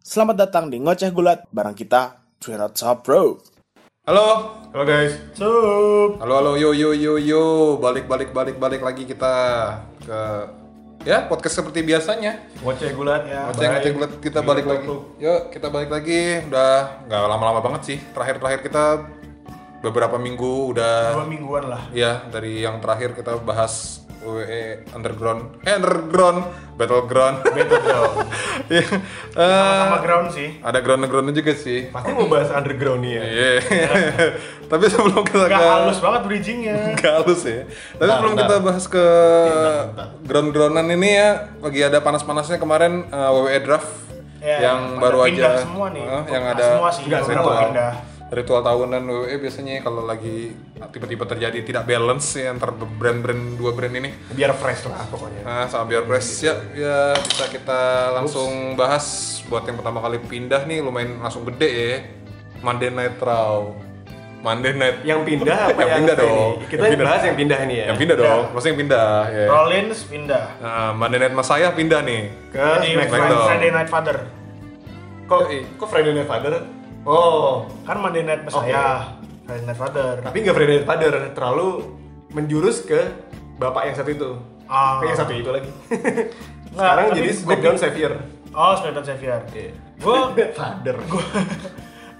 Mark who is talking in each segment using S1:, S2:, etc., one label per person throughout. S1: Selamat datang di Ngoceh Gulat, barang kita Twinot Shop Pro.
S2: Halo,
S3: Halo guys.
S1: Sup.
S2: halo, halo, yo, yo, yo, yo, balik, balik, balik, balik lagi kita ke ya podcast seperti biasanya.
S3: Ngoceh gulat ya.
S2: Ngoceh ngoceh gulat, kita balik
S3: Iya,
S2: lagi. Yuk, kita balik lagi. Udah nggak lama-lama banget sih. Terakhir-terakhir kita beberapa minggu udah
S3: Dua mingguan lah.
S2: ya dari yang terakhir kita bahas WWE underground, eh, underground, battleground.
S3: Battleground.
S2: Ya, eh,
S3: Sama ground sih.
S2: ada ground-groundnya juga sih.
S3: Pasti mau bahas underground nih ya.
S2: Iya. Tapi sebelum kita
S3: Gak
S2: ke-
S3: halus banget bridgingnya.
S2: Gak halus ya. Tapi sebelum kita bahas ke ground-groundan ini ya, lagi ada panas-panasnya kemarin eh, WWE draft
S3: Ya,
S2: yang
S3: pada
S2: baru aja
S3: pindah semua nih.
S2: Eh, yang
S3: Nah,
S2: ada
S3: semua sih,
S2: ritual
S3: beberapa pindah.
S2: ritual tahunan WWE biasanya kalau lagi tiba-tiba terjadi tidak balance ya antara brand-brand dua brand ini.
S3: Biar fresh lah pokoknya.
S2: Nah, sama biar press ya, ya bisa kita langsung bahas buat yang pertama kali pindah nih lumayan langsung gede ya. Monday Night Raw. Monday Night
S4: Yang pindah
S2: Yang
S4: apa yang,
S2: pindah
S4: ini?
S2: dong.
S4: Kita
S2: Yang pindah.
S4: bahas yang pindah nih ya.
S2: yang pindah dong, maksudnya yang pindah. ya.
S3: Oh, Rollins pindah
S2: Nah, Monday Night Messiah pindah nih.
S3: ke
S4: Jadi,
S2: Smackdown.
S3: Friday, Friday Night Father.
S4: Kok,
S2: Yoi.
S4: kok Friday Night Father? Oh,
S3: Kan Monday Night Messiah, Friday Night Father.
S4: tapi nggak Friday Night Father. Terlalu menjurus ke bapak yang satu itu.
S3: Ah.
S4: Ke yang satu itu lagi. Sekarang
S3: tapi
S4: jadi
S3: gua
S4: Smackdown Savior.
S3: Oh, Smackdown Xavier.
S4: Iya.
S3: Gua
S4: Father.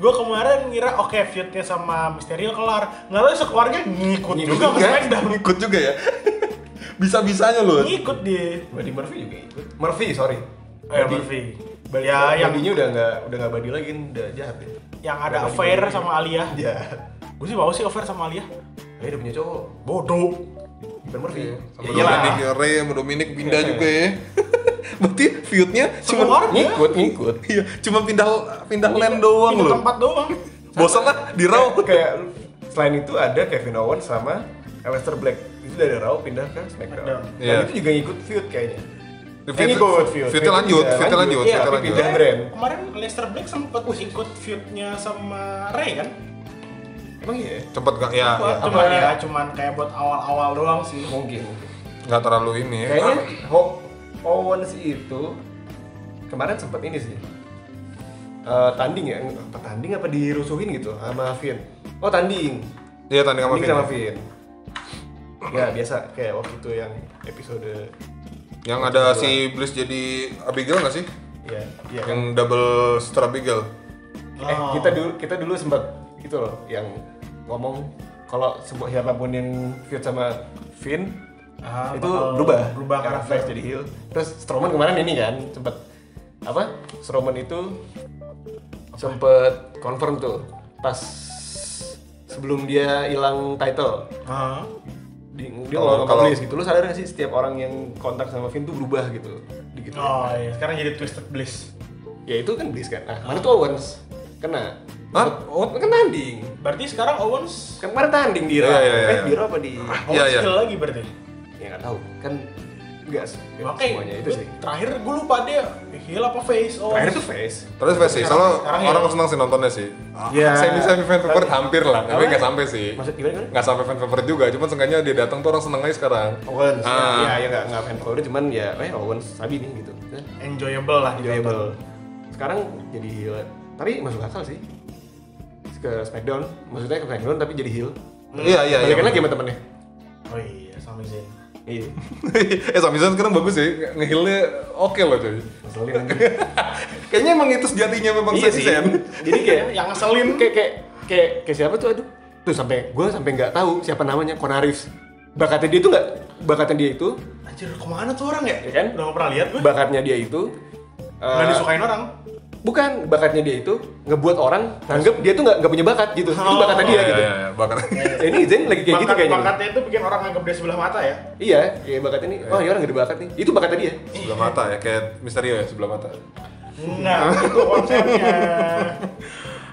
S3: gue kemarin ngira oke feudnya sama Mysterio kelar nggak tahu sekeluarga ngikut
S4: Ngikut
S3: juga ke
S4: juga.
S3: Smackdown
S2: Ikut juga ya. Bisa-bisanya loh.
S3: ngikut dia
S4: Buddy Murphy juga ikut. Murphy, sorry.
S3: eh,
S4: Buddy.
S3: Murphy
S4: Buddy, Oh,
S3: ya yang
S4: Buddy-nya udah nggak udah nggak buddy lagi, udah jahat ya.
S3: yang ada affair sama Alia
S4: Jahat.
S3: gue sih mau sih affair sama Alia
S4: Dia udah punya cowok.
S3: bodoh
S4: Ben Murphy.
S3: Iya,
S2: Sama
S4: Ya iyalah.
S2: Dominic, ya, Ray sama Dominic pindah juga ya. Berarti feudnya cuma
S3: Semua orang ya.
S4: Ngikut, ngikut.
S2: Iya, cuma pindah pindah land doang
S3: Pindah
S2: loh.
S3: tempat doang
S2: Bosan lah di Raw.
S4: kayak selain itu ada Kevin Owens sama Aleister Black itu dari Raw pindah ke SmackDown. Dan
S2: Iya.
S4: itu juga ngikut feud kayaknya.
S2: Feud-
S4: Eh, ngikut feud.
S2: feudnya lanjut,
S4: Iya,
S2: feudnya lanjut,
S4: Iya,
S2: feudnya
S4: tapi
S2: lanjut.
S4: pindah brand.
S3: kemarin Lester Black sempat ikut feudnya sama Ray kan
S4: Emang iya. ya?
S2: Tempat gak ya, ya.
S3: Cuma cuman ya cuman kayak buat awal-awal doang sih
S4: Mungkin. mungkin.
S2: nggak terlalu ini ya.
S4: Kayaknya Ho- Owens itu kemarin sempat ini sih. Eh, tanding ya, apa tanding apa dirusuhin gitu sama Finn. Oh, tanding.
S2: Iya tanding sama
S4: Tanding
S2: Finn.
S4: sama Finn. Ya biasa kayak waktu itu yang episode ya,
S2: Yang ada si Bliss jadi Abigail nggak sih?
S4: ya, ya
S2: Yang double star Abigail.
S4: Eh,
S3: Oh.
S4: kita dulu kita dulu sempat itu loh yang ngomong kalau sebuah siapapun yang feud sama Finn
S3: Ah,
S4: itu
S3: bakal
S4: berubah
S3: berubah
S4: karena
S3: karakter.
S4: Flash jadi heel. Terus Strowman kemarin ini kan sempat apa? Strowman itu sempat confirm tuh pas sebelum dia hilang title
S3: Ah.
S4: di, dia
S2: Kalau-
S4: ngomong
S2: kalau-
S4: kalau gitu lu sadar gak sih setiap orang yang kontak sama Finn tuh berubah gitu gitu
S3: oh iya sekarang jadi Twisted Bliss
S4: ya itu kan Bliss kan nah
S3: Ah.
S4: mana tuh Owens kena
S2: Hah?
S4: Owens kan tanding
S3: berarti sekarang Owens
S4: Kan kemarin tanding di Raw.
S2: Iya, iya, iya.
S4: Eh, di Raw apa di
S3: Owens
S2: Iya, iya.
S3: heel lagi berarti
S4: ya nggak tahu. Kan enggak sih. nggak
S3: Makanya
S4: Iya, semuanya itu sih.
S3: terakhir gue lupa dia heel apa face Oh. Owens
S4: Terakhir tuh face.
S2: Terus versi, soalnya
S3: sekarang ya.
S2: orang senang sih nontonnya sih.
S4: Ya.
S2: Semi semi fan favorite hampir lah, tapi
S4: Apa?
S2: nggak sampai sih.
S4: Maksud kan? gimana gimana?
S2: Nggak sampai fan favorite juga, cuman seenggaknya dia datang tuh orang seneng aja sekarang.
S4: Owens. ya,
S2: Ah.
S4: Ya, ya nggak nggak fan favorite cuman ya eh Owens sabi nih gitu. Nah,
S3: enjoyable lah
S4: Enjoyable. Sekarang jadi heel. Tapi masuk akal sih. Ke Smackdown, maksudnya ke Smackdown tapi jadi heel.
S2: Iya iya iya.
S4: Balikan lagi sama temennya.
S3: oh iya sama Zayn
S4: Iya.
S2: eh Sami Zayn sekarang bagus sih, ngehilnya oke loh cuy.
S4: Masalahnya nanti.
S2: Kayaknya emang itu sejatinya memang
S4: iya
S2: Sami
S4: sih.
S2: Zayn.
S4: Jadi kayak
S3: yang ngeselin
S4: kayak kayak kayak kayak siapa tuh aduh tuh sampai gue sampai nggak tahu siapa namanya Konarif bakatnya dia itu nggak bakatnya dia itu
S3: anjir kemana tuh orang ya
S4: Ya kan?
S3: udah gak pernah lihat gue
S4: bakatnya dia itu eh,
S3: nggak disukain orang
S4: bukan bakatnya dia itu ngebuat orang nganggep dia tuh nggak nggak punya bakat gitu itu bakatnya dia
S2: Iya
S4: gitu
S2: iya, iya, bahkan.
S4: Ya, ini Zen lagi kayak gitu
S3: Bakat-
S4: kayaknya
S3: bakatnya itu bikin orang nganggap dia sebelah mata ya
S4: iya ya bakatnya ini oh iya orang gak ada bakat nih itu bakatnya dia
S2: sebelah mata ya, kayak misterio ya sebelah mata.
S3: nah itu konsepnya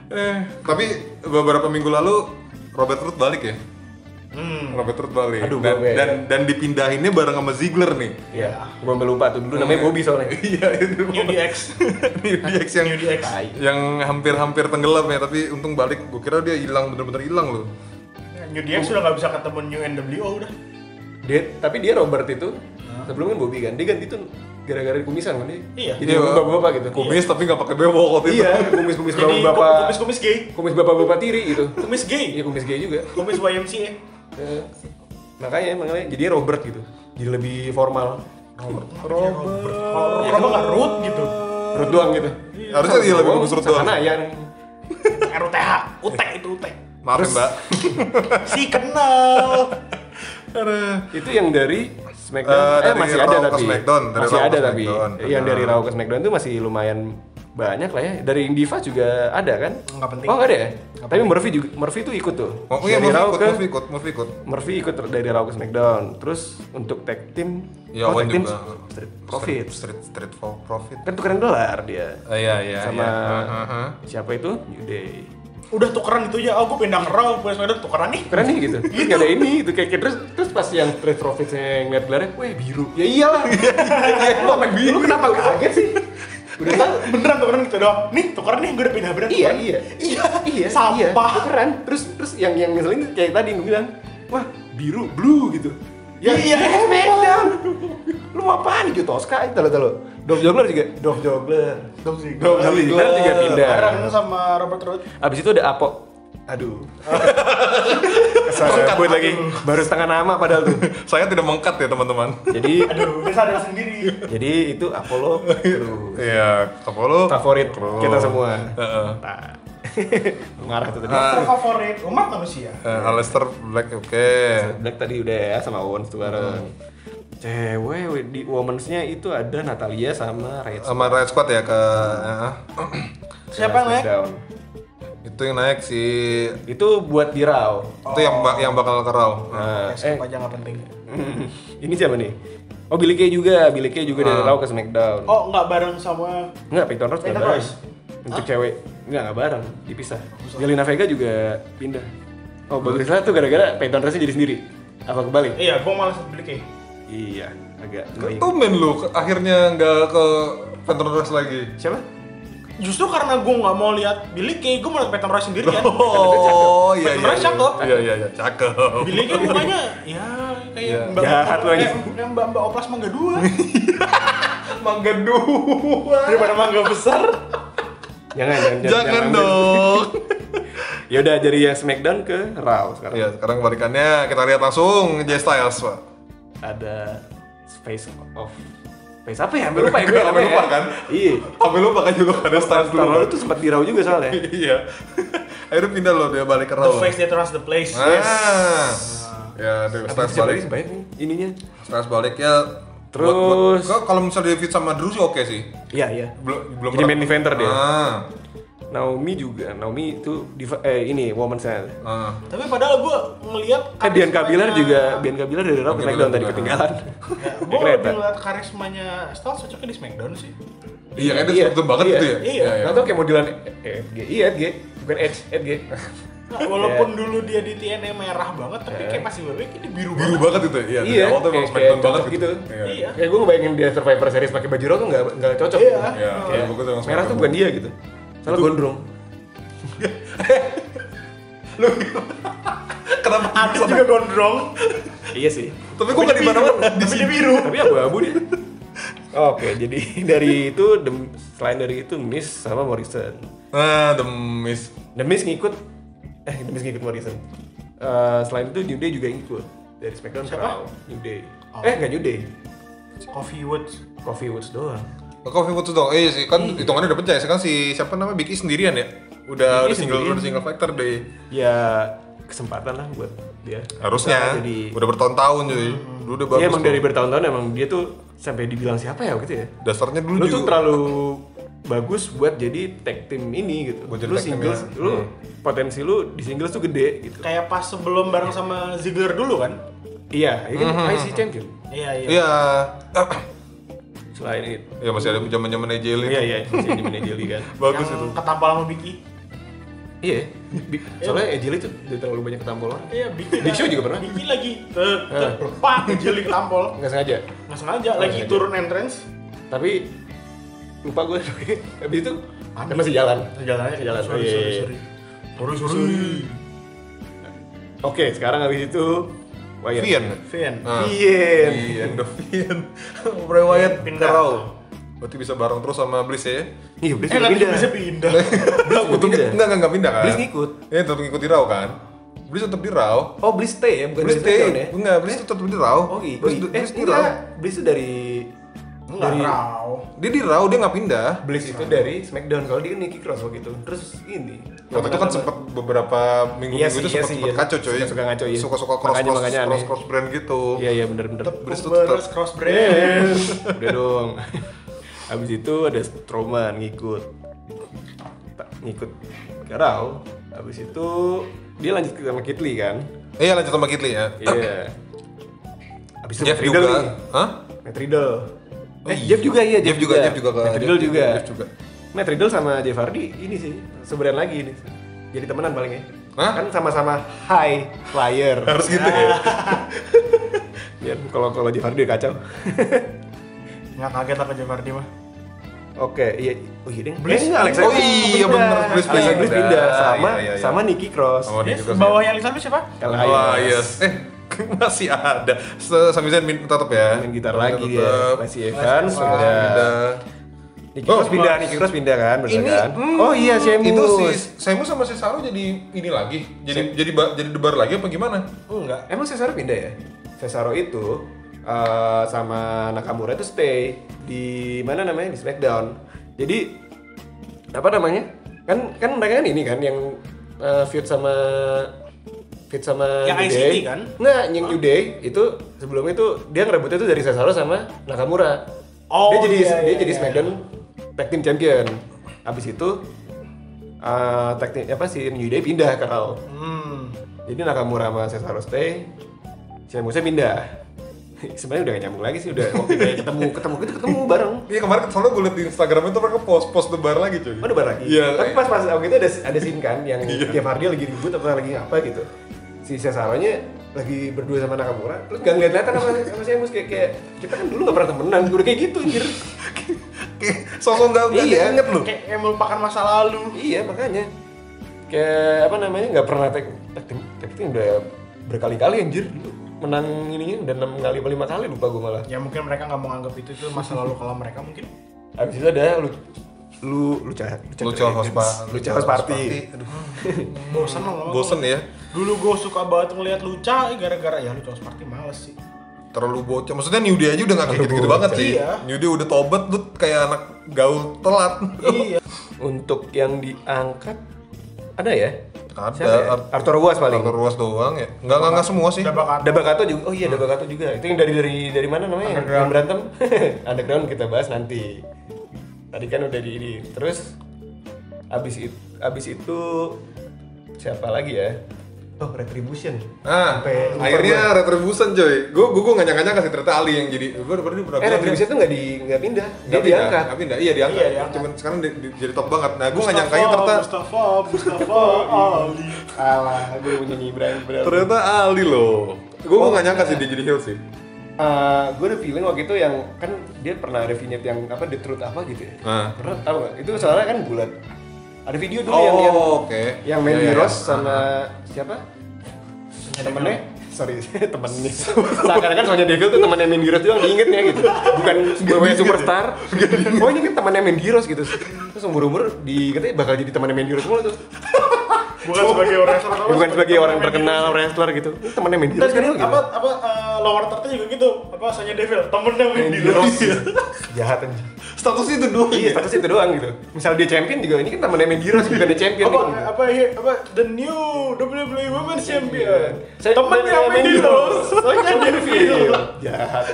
S2: Eh, tapi beberapa minggu lalu Robert Root balik ya.
S3: hmm
S2: Robert Root balik.
S4: Aduh, ya.
S2: dan,
S4: gue-
S2: dan dan dipindahinnya bareng sama Ziggler nih.
S4: iya gue sampai lupa tuh dulu namanya Bobby soalnya
S2: Iya itu.
S3: New DX
S2: New DX yang
S3: New DX
S4: Tai.
S2: yang hampir-hampir tenggelam ya tapi untung balik gue kira dia hilang bener-bener hilang loh
S3: New DX sudah nggak bisa ketemu New NWO udah
S4: dia tapi dia Robert itu sebelum kan Bobby kan dia ganti tuh gara-gara kumisan kan dia
S3: Iya.
S4: jadi
S2: Iya.
S4: bapak-bapak gitu
S2: Kumis tapi nggak pakai bewok waktu itu.
S4: iya kumis-kumis
S3: Jadi
S4: bapak-bapak
S3: kumis-kumis gay,
S4: kumis bapak-bapak tiri gitu
S3: kumis
S4: iya
S3: gay,
S4: kumis gay juga
S3: kumis YMCA.
S4: Eh, makanya makanya jadi Robert gitu jadi lebih formal Robert
S3: Kalau
S4: Iya.
S3: Roba nggak root gitu,
S4: Ruth doang gitu
S2: Harusnya dia Iya, lebih bagus Ruth doang.
S4: Sana yang
S3: RUTH, utek itu utek.
S2: Maaf ya, Mbak.
S3: Si kenal.
S4: itu yang dari Smackdown
S2: Eh,
S4: eh,
S2: dari
S4: masih
S2: Raw
S4: ada
S2: ke
S4: tapi
S2: Smackdown, dari Raw
S4: masih
S2: ke
S4: ada tapi Iya,
S2: Smackdown,
S4: yang
S2: benar.
S4: dari Raw ke Smackdown itu masih lumayan banyak lah ya dari Diva juga ada kan
S3: Nggak penting.
S4: oh nggak ada ya tapi Murphy juga Murphy tuh ikut tuh
S2: Oh iya,
S4: dari
S2: Murphy
S4: Raw
S2: ikut,
S4: ke
S2: Murphy ikut, Murphy ikut.
S4: Murphy ikut dari Raw ke Smackdown terus untuk tag team oh,
S2: Ya, Owen
S4: tag team
S2: juga.
S4: Street Profit Oh,
S2: Street, street for profit.
S4: kan tukeran dolar dia
S2: Eh, Iya, iya,
S4: Sama-
S2: iya. Ah, ah, ah.
S4: siapa itu New Day
S3: Udah tukeran itu ya, oh gue pindah ke Raw, gue sebenarnya tukeran nih.
S4: keren nih gitu terus gak ada ini itu kayak kayak- terus terus pas yang Street Profits yang ngeliat gelarnya weh biru ya iyalah ya lu apa biru Iya. lu kenapa kaget sih udah tahu
S3: Beneran tukeran gitu doang. Nih tukeran nih, gue udah pindah beneran.
S4: iya
S3: tukeran.
S4: iya
S3: Iya,
S4: iya
S3: sampah.
S4: iya, keren terus terus yang yang misalnya kayak tadi gue bilang wah biru blue gitu ya
S3: Iya.
S4: ya, Smackdown lu mau apaan gitu Tosca itu lo lo Dolph Ziggler juga Dolph Ziggler
S3: Dolph Ziggler.
S4: Dolph Ziggler juga pindah
S3: Bareng sama Robert Root.
S4: Abis itu ada Apo. Aduh. Kesana buat lagi. Baru setengah nama padahal tuh.
S2: Saya tidak mengkat ya, teman-teman.
S4: Jadi
S3: Aduh, dia sadar sendiri.
S4: jadi itu Apollo Crew.
S2: Iya, Eh, Apollo.
S4: Favorit
S2: Crew.
S4: kita semua. Ah.
S2: Heeh.
S4: Oh. Nah. Marah tuh tadi.
S3: Monster favorit umat manusia.
S2: Nah, Eh, Aleister Black oke.
S4: Black tadi udah ya sama Owens tuh bareng. Cewek di womensnya itu ada Natalia sama Rachel.
S2: Sama Riot Squad ya ke eh, eh.
S3: Siapa yang naik?
S2: itu yang naik si
S4: Itu buat di Raw.
S2: itu yang ba- yang bakal ke Raw.
S4: Nah,
S3: Ya, skip aja nggak penting.
S4: ini siapa nih? Oh, Billy Kay juga, Billy Kay juga dari Raw ke SmackDown.
S3: Oh, nggak bareng sama
S4: Enggak, Peyton Royce
S3: Peyton
S4: nggak bareng.
S3: Royce?
S4: Untuk cewek, enggak, enggak bareng, dipisah. Jelena Vega juga pindah. Oh, bagus lah tuh gara-gara Peyton Royce jadi sendiri. Apa kebalik?
S2: Eh.
S3: Iya, gue malas beli kayak.
S4: Iya, agak annoying.
S2: Tumben lu ke- akhirnya nggak ke Phantom Rush lagi.
S4: Siapa?
S3: Justru karena gue nggak mau lihat Billy Kay, gue mau lihat Peyton Royce sendiri kan.
S2: Oh iya
S3: Phantom
S2: iya.
S3: Rush cakep.
S2: Iya iya iya cakep.
S3: Billy Kay mukanya ya kayak
S2: Iya.
S3: mbak eh,
S4: Jahat lu lagi.
S3: Yang mbak mbak oplas mangga dua
S4: Mangga dua.
S3: daripada mangga besar.
S4: Jangan, jangan,
S2: Jangan dong.
S4: Ya udah dari yang SmackDown ke Raw sekarang.
S2: Iya, sekarang balikannya kita lihat langsung J Styles, Pak.
S4: Ada Space of Space apa ya? Sampai lupa ya gue.
S2: Sampai
S4: namanya
S2: lupa
S4: ya.
S2: kan?
S4: Iya.
S2: Sampai lupa kan julukan ada Styles
S4: Tahun lalu
S2: dulu.
S4: tuh sempat di Raw juga soalnya.
S2: Iya. Akhirnya pindah loh dia balik ke
S3: The
S2: Raw.
S3: face that runs the place.
S2: Ah. Ya, dia
S4: Abis
S2: Styles
S4: siapa
S2: balik.
S4: lagi sebanyak nih ininya?
S2: Stres balik ya.
S4: Terus-
S2: buat- buat- kalau misalnya David sama Drew sih oke sih.
S4: Iya, iya.
S2: Belum belum
S4: Jadi main eventer dia.
S2: Ah.
S4: Naomi juga. Naomi itu diva- eh ini woman's
S2: ah.
S3: Tapi padahal gue ngelihat
S4: Eh Bian Kabilar juga Bian Kabilar dari Raw ke
S2: Bian Kabilar
S4: Smackdown tadi
S2: juga.
S4: ketinggalan.
S3: Gue lebih ngeliat karismanya Styles cocoknya di Smackdown sih.
S2: Iya, kan dia
S4: Iya,
S2: sebetulnya banget
S4: iya,
S2: gitu ya.
S3: iya.
S4: Nggak tahu kayak modelan EDG. Iya EDG, bukan Edge, EDG.
S3: Nah, walaupun dulu dia di TNA merah banget, tapi kayak masih bebek ini biru
S2: Biru
S3: banget.
S2: banget itu. Iya, dari
S4: Iya,
S2: awal tuh emang
S4: kayak-
S2: Smackdown
S4: kayak
S2: banget
S4: cocok
S2: gitu.
S4: gitu.
S2: Iya.
S3: Iya.
S4: Kayak gue ngebayangin dia Survivor Series pakai baju Raw tuh nggak nggak cocok.
S3: Iya.
S4: gitu.
S2: Iya,
S4: Kayak
S2: bagus emang
S4: merah
S2: Smackdown.
S4: tuh bukan dia gitu. Salah gondrong.
S2: Kenapa?
S3: Adit juga gondrong,
S4: Iya sih.
S2: Tapi gua nggak di mana-mana.
S3: tapi dia biru.
S4: Tapi abu-abu dia. Oke, jadi dari itu dem- selain dari itu Miss sama Morrison.
S2: Nah, The Miz.
S4: The Miz ngikut eh The Miz ngikut Morrison. Eh, selain itu New Day juga ngikut dari SmackDown ke
S3: Siapa?
S4: Raw. New Day. Eh nggak New Day,
S3: Coffee Woods.
S4: Coffee Woods doang.
S2: Coffee Woods dong. Eh, sih kan
S4: Iya.
S2: hitungannya udah pecah ya. Kan si siapa namanya Big E sendirian ya. Udah
S4: Big
S2: udah
S4: E
S2: single
S4: sendirian.
S2: udah single factor deh.
S4: Ya kesempatan lah buat dia.
S2: Harusnya.
S4: Nah, jadi
S2: Udah bertahun-tahun jadi. Dulu udah
S4: dia
S2: bagus.
S4: emang
S2: tuh.
S4: dari bertahun-tahun emang dia tuh sampai dibilang siapa ya gitu ya.
S2: dasarnya dulu
S4: Lu tuh
S2: juga.
S4: terlalu bagus buat jadi tag team ini gitu.
S2: Buat jadi
S4: Lu
S2: tag team
S4: singles,
S2: ya.
S4: lu potensi lu di singles tuh gede gitu.
S3: Kayak pas sebelum bareng sama Ziggler dulu kan?
S4: Iya, ini
S2: Hmm,
S4: kan IC champion.
S3: Iya iya.
S2: Iya.
S4: Selain itu.
S2: Ya masih ada zaman-zaman AJ Lee.
S4: Iya iya, masih di Mania Jelly kan.
S2: Bagus
S3: yang
S2: itu.
S3: ketampal sama E. Biki.
S4: Iya, Bi- soalnya Ejil itu udah terlalu banyak ketampol orang.
S3: Iya, Biki.
S4: Big Show juga pernah.
S3: Biki E lagi te- te- pak jeli tampol.
S4: Nggak sengaja.
S3: Nggak sengaja lagi
S4: sengaja.
S3: turun entrance.
S4: Tapi lupa gue. Habis itu kan masih jalan.
S3: Jalannya
S4: Jalan,
S3: Sorry,
S4: iya,
S3: sorry,
S4: iya.
S3: sorry. Sorry, sorry.
S4: Oke, sekarang habis itu Wyatt.
S2: Vian.
S3: Finn.
S2: Nah,
S4: Vian.
S2: Vian, the Vian. Bray Wyatt
S3: Pindah.
S2: Raw. Berarti bisa bareng terus sama Bliss ya?
S4: Iya, Bliss
S3: Eh
S4: udah
S3: nanti
S4: pindah.
S3: bisa pindah.
S2: Bliss butuh
S4: pindah.
S2: pindah. Enggak, enggak, enggak pindah kan?
S4: Bliss ngikut.
S2: Iya, tetap ngikut di Raw kan? Bliss tetap di Raw.
S4: Oh, Bliss stay ya, bukan
S2: Bliss
S4: dari
S2: stay.
S4: SmackDown ya?
S2: Enggak, Bliss tetap di Raw.
S4: Oh, gitu.
S2: Bliss,
S4: eh,
S2: Bliss di
S4: enggak.
S2: Raw.
S4: Bliss itu dari
S3: Enggak
S4: dari
S3: raw.
S2: Dia di Raw, dia nggak pindah.
S4: Bliss itu dari SmackDown kalau dia kan Nikki Cross waktu itu. Terus ini.
S2: Waktu itu kan sempat beberapa minggu-minggu
S4: Iya sih,
S2: itu
S4: iya
S2: sempat
S4: sih,
S2: sempet
S4: iya.
S2: kacau coy.
S4: Suka-suka ngaco, iya.
S2: Suka-suka
S4: Makanya-
S2: cross-cross
S4: makanya aneh.
S2: cross-cross brand gitu.
S4: Iya iya bener bener.
S2: Bliss itu tetap
S3: Terus cross brand.
S4: Udah dong. Habis itu ada Strowman ngikut. Ta- Ngikut ke Raw. Habis itu dia lanjut ke sama Kitli kan.
S2: Iya lanjut sama Kitli ya.
S4: Iya. Habis itu
S2: Jeff
S4: Matt Riddle
S2: juga.
S4: nih.
S2: Hah?
S4: Matt Riddle.
S2: Oh
S4: eh,
S2: iya.
S4: Jeff juga iya,
S2: Jeff juga, Jeff juga ke-
S4: Matt Riddle
S2: Jeff-
S4: juga.
S2: Jeff juga.
S4: Matt Riddle sama Jeff Hardy ini sih, sebenarnya lagi ini. Jadi temenan paling ya.
S2: Hah?
S4: Kan sama-sama high flyer.
S2: Harus gitu ya.
S4: Ah. Biar kalau kalau Jeff Hardy kacau.
S3: Nggak kaget apa Jeff Hardy mah.
S4: Oke, iya. Oh iya, deng.
S3: Bliss.
S4: Eh, enggak, Alexa
S2: Oh
S4: Bliss
S2: iya,
S4: pindah.
S2: bener, Bliss
S4: Alexa
S2: pindah.
S4: Bliss pindah sama
S2: Iya, iya, iya.
S4: sama Nikki Cross.
S2: Sama dia
S3: Dia
S2: juga sih.
S3: bawahnya Elizabeth siapa?
S4: Kalau
S2: Wah,
S4: Ayas.
S2: yes. Eh, masih ada. Se- Sami Zayn min- tetap ya.
S4: Main gitar lagi dia.
S2: Tetap.
S4: Masih
S3: Wah,
S4: Evans sudah.
S2: Pindah.
S4: Nikki
S2: Oh,
S4: Cross pindah, Nikki Cross pindah kan, bener
S2: Ini,
S4: kan?
S2: hmm,
S4: Oh iya, si
S2: Itu si
S4: Emus.
S2: Semu sama si Saru jadi ini lagi. Jadi jadi ba- jadi debar lagi apa gimana?
S4: Enggak, emang Cesaro pindah ya? Cesaro itu eh, sama Nakamura itu stay di mana namanya di Smackdown. Jadi apa namanya? Kan kan mereka kan ini kan yang eh, feud sama feud sama
S3: Yang
S4: New
S3: ICT
S4: Day.
S3: kan?
S4: Nggak, yang New Day itu sebelumnya itu dia ngerebutnya itu dari Cesaro sama Nakamura.
S3: Oh,
S4: dia jadi
S3: iya,
S4: dia
S3: iya,
S4: jadi
S3: iya.
S4: Smackdown Tag Team Champion. Habis itu eh tag team, apa si New Day pindah ke Raw.
S3: Hmm.
S4: Jadi Nakamura sama Cesaro stay, Sheamusnya pindah. Sebenarnya udah gak nyambung lagi sih, udah waktu itu ketemu, ketemu gitu, ketemu bareng.
S2: Iya kemarin soalnya gue liat di Instagram itu mereka post post debar lagi cuy.
S4: Oh, udah bareng lagi.
S2: Iya.
S4: Tapi pas pas waktu itu ada ada scene kan yang
S3: Iya.
S4: tiap hari dia lagi ribut atau lagi apa gitu. Si Cesaro-nya lagi berdua sama Nakamura, terus gak ngeliat ngeliatan sama sama Sheamus kayak kayak kita kan dulu gak pernah temenan, gue udah kayak gitu anjir.
S2: Sosok nggak nggak
S4: Iya.
S2: diinget lu.
S3: Kayak kayak melupakan masa lalu.
S4: iya, makanya kayak apa namanya nggak pernah tag tag team, tag team udah berkali-kali anjir dulu menang ininya udah enam kali apa lima kali lupa gue malah
S3: Ya mungkin mereka nggak mau nganggap itu itu masa lalu kalau mereka mungkin.
S4: Abis itu ada lu lu lu cah
S2: Lu cowok host pa-
S4: lu
S2: cowok
S4: cah
S2: host
S4: party.
S2: Aduh,
S3: Bosan loh.
S2: bosen
S4: Iya.
S2: ya.
S3: Dulu gue suka banget ngeliat Luca eh, gara-gara ya Luca seperti males sih.
S2: Terlalu bocah. Maksudnya New Day aja udah nggak kayak
S4: Terlalu
S2: gitu-gitu banget
S4: bocah.
S2: sih.
S3: Iya.
S2: New Day udah tobat tuh kayak anak gaul telat.
S3: iya.
S4: Untuk yang diangkat ada ya?
S2: Ada,
S4: Siapa ya?
S2: Ar-
S4: Arthur Ruas paling.
S2: Kalau ruas doang ya. Nggak nggak nggak semua sih.
S3: Udah bakal
S4: Dabakato juga. Oh iya Dabakato juga. Itu yang dari dari dari mana namanya? Yang berantem. Underground kita bahas nanti. Tadi kan udah di ini. Terus abis itu abis itu siapa lagi ya? Oh Retribution. Eh,
S2: Nah,
S4: Sampai lupa
S2: akhirnya retribution coy. Gue gue nggak nyangka nyangka sih ternyata Ali yang jadi. Gue udah ini berapa?
S4: Eh Retribution tuh nggak di nggak pindah. Dia
S2: Nggak pindah,
S4: diangkat.
S2: nggak pindah. Iya diangkat.
S3: Iya, diangkat.
S2: Cuman sekarang di- di- jadi top banget. Nah, gue nggak nyangkanya ternyata
S3: Mustafa, Mustafa, Ali.
S4: Alah, gue mau nyanyi Ibrahim Ibrahim.
S2: ternyata Ali loh. Gue
S4: Oh,
S2: gue nggak nyangka
S4: iya.
S2: sih dia jadi heel sih.
S4: gue Eh, ada feeling waktu itu yang kan dia pernah ada vignette yang apa the truth apa gitu ya
S2: Nah.
S4: pernah tau gak? itu soalnya kan bulat ada video dulu
S2: Oh,
S4: yang yang
S2: oke.
S4: yang main
S2: Iya, iya,
S4: Miros
S2: iya.
S4: sama siapa temennya sorry temennya seakan-akan soalnya Devil tuh temennya main Miros doang diingetnya gitu bukan gue superstar oh ini kan temennya main Miros gitu terus umur-umur dikatanya bakal jadi temennya main Miros semua tuh
S3: Bukan sebagai orang wrestler, tapi
S4: bukan sebagai orang terkenal wrestler gitu Ini temennya main Miros
S3: Terus
S4: kan
S3: gini,
S4: gitu
S3: apa apa eh, lower third juga gitu. Apa Sonya Devil, temennya main di
S4: Miros jahat anjing
S2: Status itu doang.
S4: Iya, status itu doang gitu. Misal dia champion juga, ini kan temennya Mendiros bukan dia champion. gitu.
S3: apa
S4: nih.
S3: apa he- apa the new WWE Women's Champion.
S4: Saya-
S3: Temennya main di Rose, Sonya Devil.
S4: Iya, Jahat.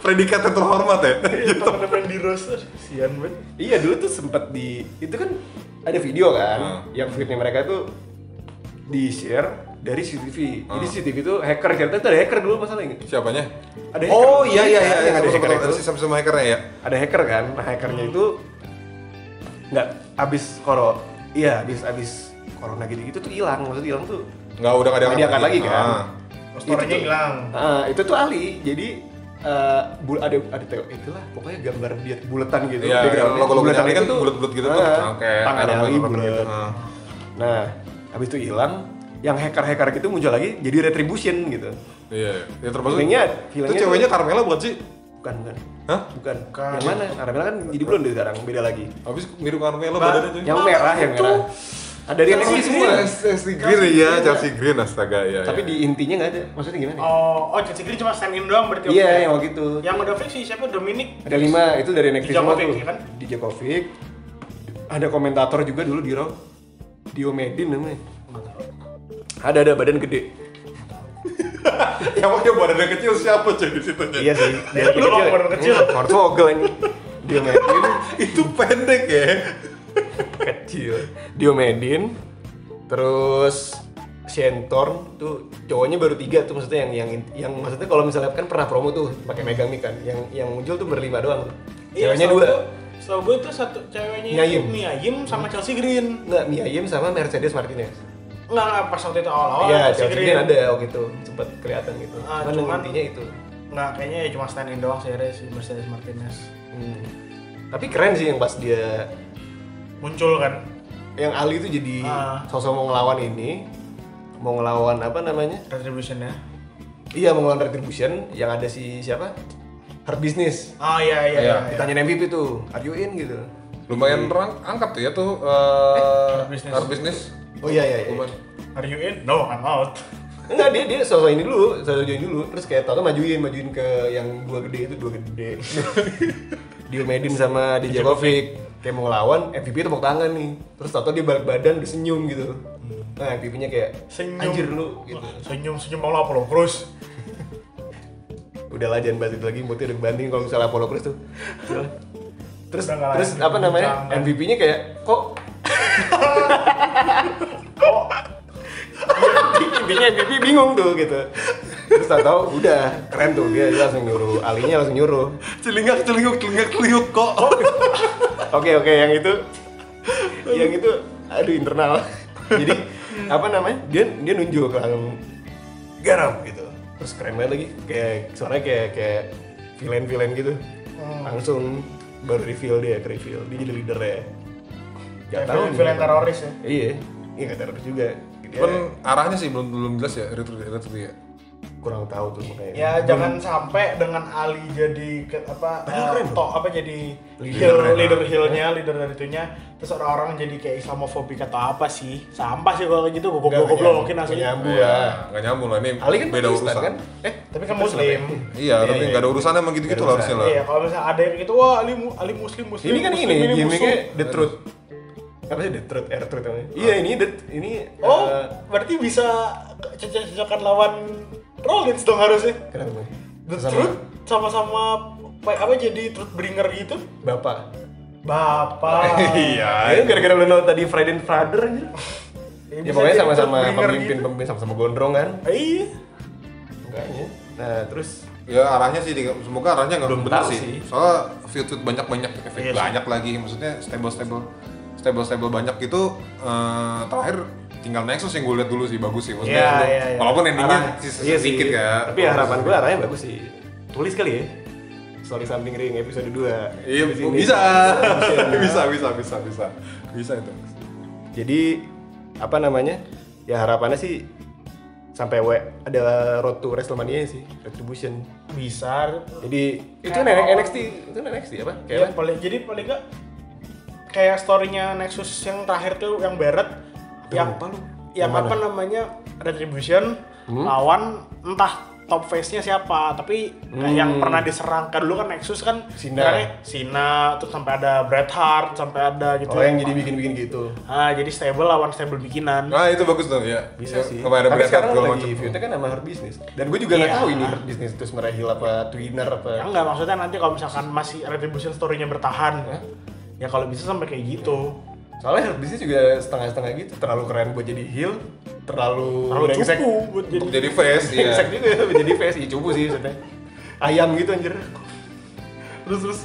S2: Predikatnya terhormat ya.
S3: Iya, Temennya main di Rose, sian banget.
S4: Iya, dulu tuh sempet di itu kan ada video kan yang fitnya mereka tuh di share dari CCTV. Jadi CCTV itu hacker, ternyata itu ada hacker dulu masalahnya. gitu.
S2: Siapanya?
S4: Ada hacker.
S2: oh iya iya iya.
S4: Yang ada
S2: Sama-sama-
S4: hacker itu.
S2: Ada sama sama hackernya ya.
S4: ada hacker kan nah hackernya itu nggak abis kalau iya abis abis corona gitu gitu tuh hilang maksudnya hilang tuh
S2: Nggak udah nggak
S4: nggak diangkat lagi kan
S2: Ah.
S3: Posternya
S4: tuh-
S3: hilang.
S4: Ah, itu tuh Ali jadi eh, bul ada ada teo itulah pokoknya gambar dia bulatan gitu
S2: Iya,
S4: backgroundnya.
S2: logo-logo
S4: Bulatan
S2: Ali kan
S4: itu-
S2: bulat-bulat gitu tuh.
S4: Ah,
S2: Oke,
S4: tangannya
S2: ada
S4: Ali
S2: rubber
S4: bulat
S2: gitu. Ah.
S4: nah abis itu hilang yang hacker-hacker gitu muncul lagi jadi retribution gitu
S2: Iya, ya termasuk
S4: Feelingnya-
S2: itu
S4: feelingnya
S2: ceweknya Carmela bukan sih?
S4: Bukan, bukan.
S2: Hah?
S4: Bukan. Yang mana? Carmela kan jadi blonde sekarang, beda lagi.
S2: Habis mirip Carmela badannya tuh.
S4: Yang merah, yang merah. Ada dari NXT semua.
S2: Chelsea Green ya, Chelsea Green astaga ya.
S4: Tapi di intinya nggak ada. Maksudnya gimana? ya?
S3: Oh, oh Chelsea Green cuma stand in doang berarti. waktu
S4: Iya,
S3: itu.
S4: yang waktu itu.
S3: Yang udah fix sih siapa? Dominic.
S4: Ada lima, itu dari NXT semua
S3: Djokovic,
S4: tuh.
S3: ya kan?
S4: Di Djokovic. Ada komentator juga dulu di Raw. Diomedin namanya. Ada ada badan gede.
S2: yang waktu badannya kecil siapa cuy di situ?
S4: iya sih. Dia
S3: Lu orang badan kecil.
S4: Harus Iya, ogel ini. Diomedin
S2: itu pendek ya.
S4: kecil. Diomedin. Terus Shentorn tuh cowoknya baru tiga tuh maksudnya yang yang yang maksudnya kalau misalnya kan pernah promo tuh pakai Megami kan yang yang muncul tuh berlima doang ceweknya
S3: Iya, setahu
S4: dua
S3: gua- Setahu gue itu satu ceweknya
S4: Miayim.
S3: itu Miayim sama Chelsea Green.
S4: nggak Mia Yim sama Mercedes Martinez
S3: Enggak, enggak pas waktu itu awal-awal
S4: Iya, Chelsea Green ada waktu itu sempet kelihatan gitu.
S3: Oh, Ah,
S4: cuman,
S3: cuman-
S4: intinya itu.
S3: Enggak, kayaknya ya cuma stand in doang sih Rey, si Mercedes Martinez.
S4: Hmm. Tapi keren sih yang pas dia
S3: Muncul kan.
S4: yang Ali itu jadi
S3: Ah.
S4: sosok mau ngelawan ini, mau ngelawan apa namanya?
S3: Retribution ya.
S4: Iya, mau ngelawan Retribution yang ada si siapa? Hard Business.
S3: Oh iya iya
S2: Iya.
S3: iya.
S4: Ditanyain MVP tuh, are you in gitu.
S2: Lumayan rang, angkat tuh ya tuh eh
S3: Hard Business.
S2: hard business.
S4: Oh iya iya. iya.
S2: Lumayan.
S3: Are you in? No, I'm out.
S4: Enggak, dia dia sosok ini dulu, sosok join dulu, terus kayak tau majuin, majuin ke yang dua gede itu dua gede. Diomedin sama Dijakovic kayak mau lawan MVP tepuk tangan nih. Terus tau dia balik badan udah senyum gitu. Nah, MVP-nya kayak
S3: Senyum.
S4: anjir lu gitu.
S3: Senyum senyum mau lo apa lo Cruz?
S4: Udahlah jangan bahas itu lagi, moodnya udah banding kalau misalnya Apollo Crews tuh. Udahlah. terus
S3: Udah nggak
S4: terus
S3: layak
S4: apa namanya?
S3: diperbincangkan.
S4: MVP-nya kayak kok
S3: Oh,
S4: intinya MVP bingung tuh gitu. Terus tau udah keren tuh dia, dia langsung nyuruh, alinya langsung nyuruh.
S2: Celingak celinguk celingak celinguk kok.
S4: Oke oke yang itu yang itu aduh internal. Jadi apa namanya? Dia dia nunjuk ke Hanum. garam gitu. Terus keren banget lagi kayak suaranya kayak kayak villain-villain gitu. Langsung baru reveal dia, ke reveal dia jadi leader ya. Gak
S3: kayak
S4: tahu nih.
S3: film teroris ya.
S4: Iya, iya gak teroris juga. Dia
S2: Cuman arahnya sih belum belum jelas ya retro retro ya.
S4: kurang tahu tuh makanya.
S3: Ya jangan sampai dengan Ali jadi ke, apa
S4: Padahal
S3: eh,
S4: keren
S3: tok apa jadi
S4: Leader
S3: leader
S4: keren.
S3: leader hillnya leader dari itunya terus orang-orang jadi kayak islamofobik atau apa sih sampah sih kalau kayak gitu
S4: Nggak,
S3: goblok goblok mungkin
S4: nggak
S3: aslinya
S4: nyambung
S2: Iya,
S4: lah.
S2: nggak nyambung lah ini
S4: Ali kan
S2: beda
S4: Pakistan,
S2: urusan.
S4: kan? Eh,
S3: tapi kan muslim
S2: Iya, tapi nggak ada urusannya sama gitu-gitu lah harusnya lah.
S3: iya kalau misalnya ada yang gitu wah Ali, mu- Ali muslim muslim
S4: ya? ini kan
S3: muslim,
S4: ini,
S3: ini
S4: gimmicknya
S3: musuh
S4: the truth apa sih the truth air truth namanya iya ini the ini
S3: oh
S4: eh,
S3: berarti bisa cocok-cocokan lawan Rollins dong harusnya
S4: kenapa
S3: the
S4: Sama-
S3: truth sama-sama apa apa jadi truth bringer gitu
S4: bapak
S3: bapak
S2: Iya.
S4: ini gara-gara lu nonton tadi Friday and Father anjir ya
S3: bisa
S4: pokoknya
S3: jadi
S4: sama-sama
S3: truth bringer
S4: pemimpin
S3: gitu.
S4: pemimpin sama-sama gondrong kan
S3: Iya.
S4: enggaknya nah terus
S2: Ya arahnya sih, di- semoga arahnya nggak
S4: Belum
S2: bener
S4: tahu
S2: sih.
S4: sih.
S2: Soalnya field field banyak banyak, efek
S3: Iya sih.
S2: banyak lagi. Maksudnya stable stable, stable stable banyak itu eh, terakhir tinggal Nexus yang gue lihat dulu sih bagus sih. Maksudnya
S3: Iya,
S2: belum-
S3: iya, iya.
S2: walaupun endingnya
S4: arah-
S2: sih
S4: iya sih.
S2: sedikit ya.
S4: tapi harapan gue arahnya bagus sih tulis kali ya Story Something Ring episode 2
S2: Iya,
S4: Di sini.
S2: bisa. bisa, bisa, bisa, bisa, bisa itu.
S4: Jadi apa namanya? Ya harapannya sih sampai W ada road to WrestleMania sih, Retribution.
S3: Bisa.
S4: Jadi Iya. itu
S3: Kayak
S4: N-
S3: awal-
S4: NXT, itu NXT apa? Kayak
S3: Ya,
S4: apa?
S3: paling, jadi paling enggak kayak story-nya Nexus yang terakhir tuh yang Barrett yang
S4: lupa lu.
S3: yang
S4: Yang Hmm?
S3: apa namanya Retribution lawan entah top face-nya siapa tapi kayak yang pernah diserang kan dulu kan Nexus kan
S4: Hmm. Cena.
S3: serangnya Cena terus sampai ada Bret Hart sampai ada gitu
S4: Oh, yang jadi Ah. bikin-bikin gitu.
S3: ah jadi stable lawan stable bikinan
S2: Nah itu bagus tuh ya.
S4: Bisa sih.
S2: Kemarin ada
S4: Tapi
S2: Bret Hart
S4: sekarang
S2: segala
S4: lagi
S2: macam.
S4: feud-nya kan sama Hard Business. Dan gue juga nggak
S3: Iya.
S4: tahu ini Hard Business terus merahil apa Twinner
S3: Ya
S4: apa.
S3: enggak maksudnya nanti kalau misalkan masih retribution story-nya bertahan.
S4: Hah?
S3: Ya kalau bisa sampai kayak gitu.
S4: Soalnya Hard Business juga setengah-setengah gitu. Terlalu keren buat jadi heel, terlalu
S3: Terlalu
S4: brengsek. Iya.
S3: cupu buat
S2: Untuk
S3: jadi
S2: jadi face, iya.
S4: Brengsek juga ya, jadi face, ya cupu sih maksudnya. Ayam gitu anjir.
S3: terus terus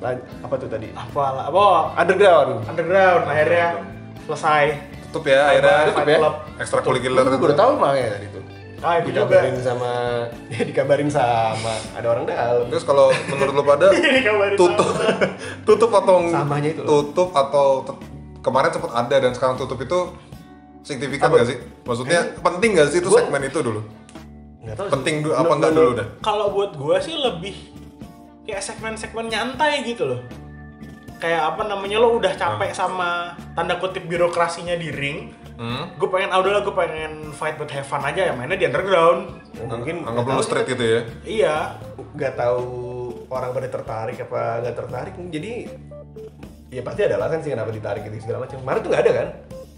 S4: Lan- apa tuh tadi?
S3: apa lah. Oh,
S4: Underground.
S3: underground akhirnya selesai.
S2: Tutup ya akhirnya.
S4: Tutup ya.
S2: Ekstra kulikuler.
S4: Itu gue udah tahu makanya tadi tuh.
S3: Ah, itu juga.
S4: dikabarin sama ya dikabarin sama ada orang dalam.
S2: Terus kalau menurut lo pada
S3: Dikabarin
S2: tutup tutup atau
S4: Samanya itu loh.
S2: tutup atau tet- kemarin sempat ada dan sekarang tutup itu signifikan
S4: Apa? Eh?
S2: gak sih? Maksudnya penting gak sih itu
S4: Gua-
S2: segmen itu dulu?
S3: Nggak tahu sih.
S2: Penting du- apa enggak dulu dah?
S3: Kalau buat gue sih lebih kayak segmen-segmen nyantai gitu loh. Kayak apa namanya lo udah
S4: Ah.
S3: capek sama tanda kutip birokrasinya di ring.
S2: Hmm?
S3: Gue pengen, ah udahlah gue pengen fight with have fun aja ya mainnya di underground.
S4: mungkin
S2: Anggap lu straight gitu ya.
S3: Iya,
S4: nggak tahu orang pada tertarik apa nggak tertarik jadi ya pasti ada alasan sih kenapa ditarik gitu segala macam kemarin tuh nggak ada kan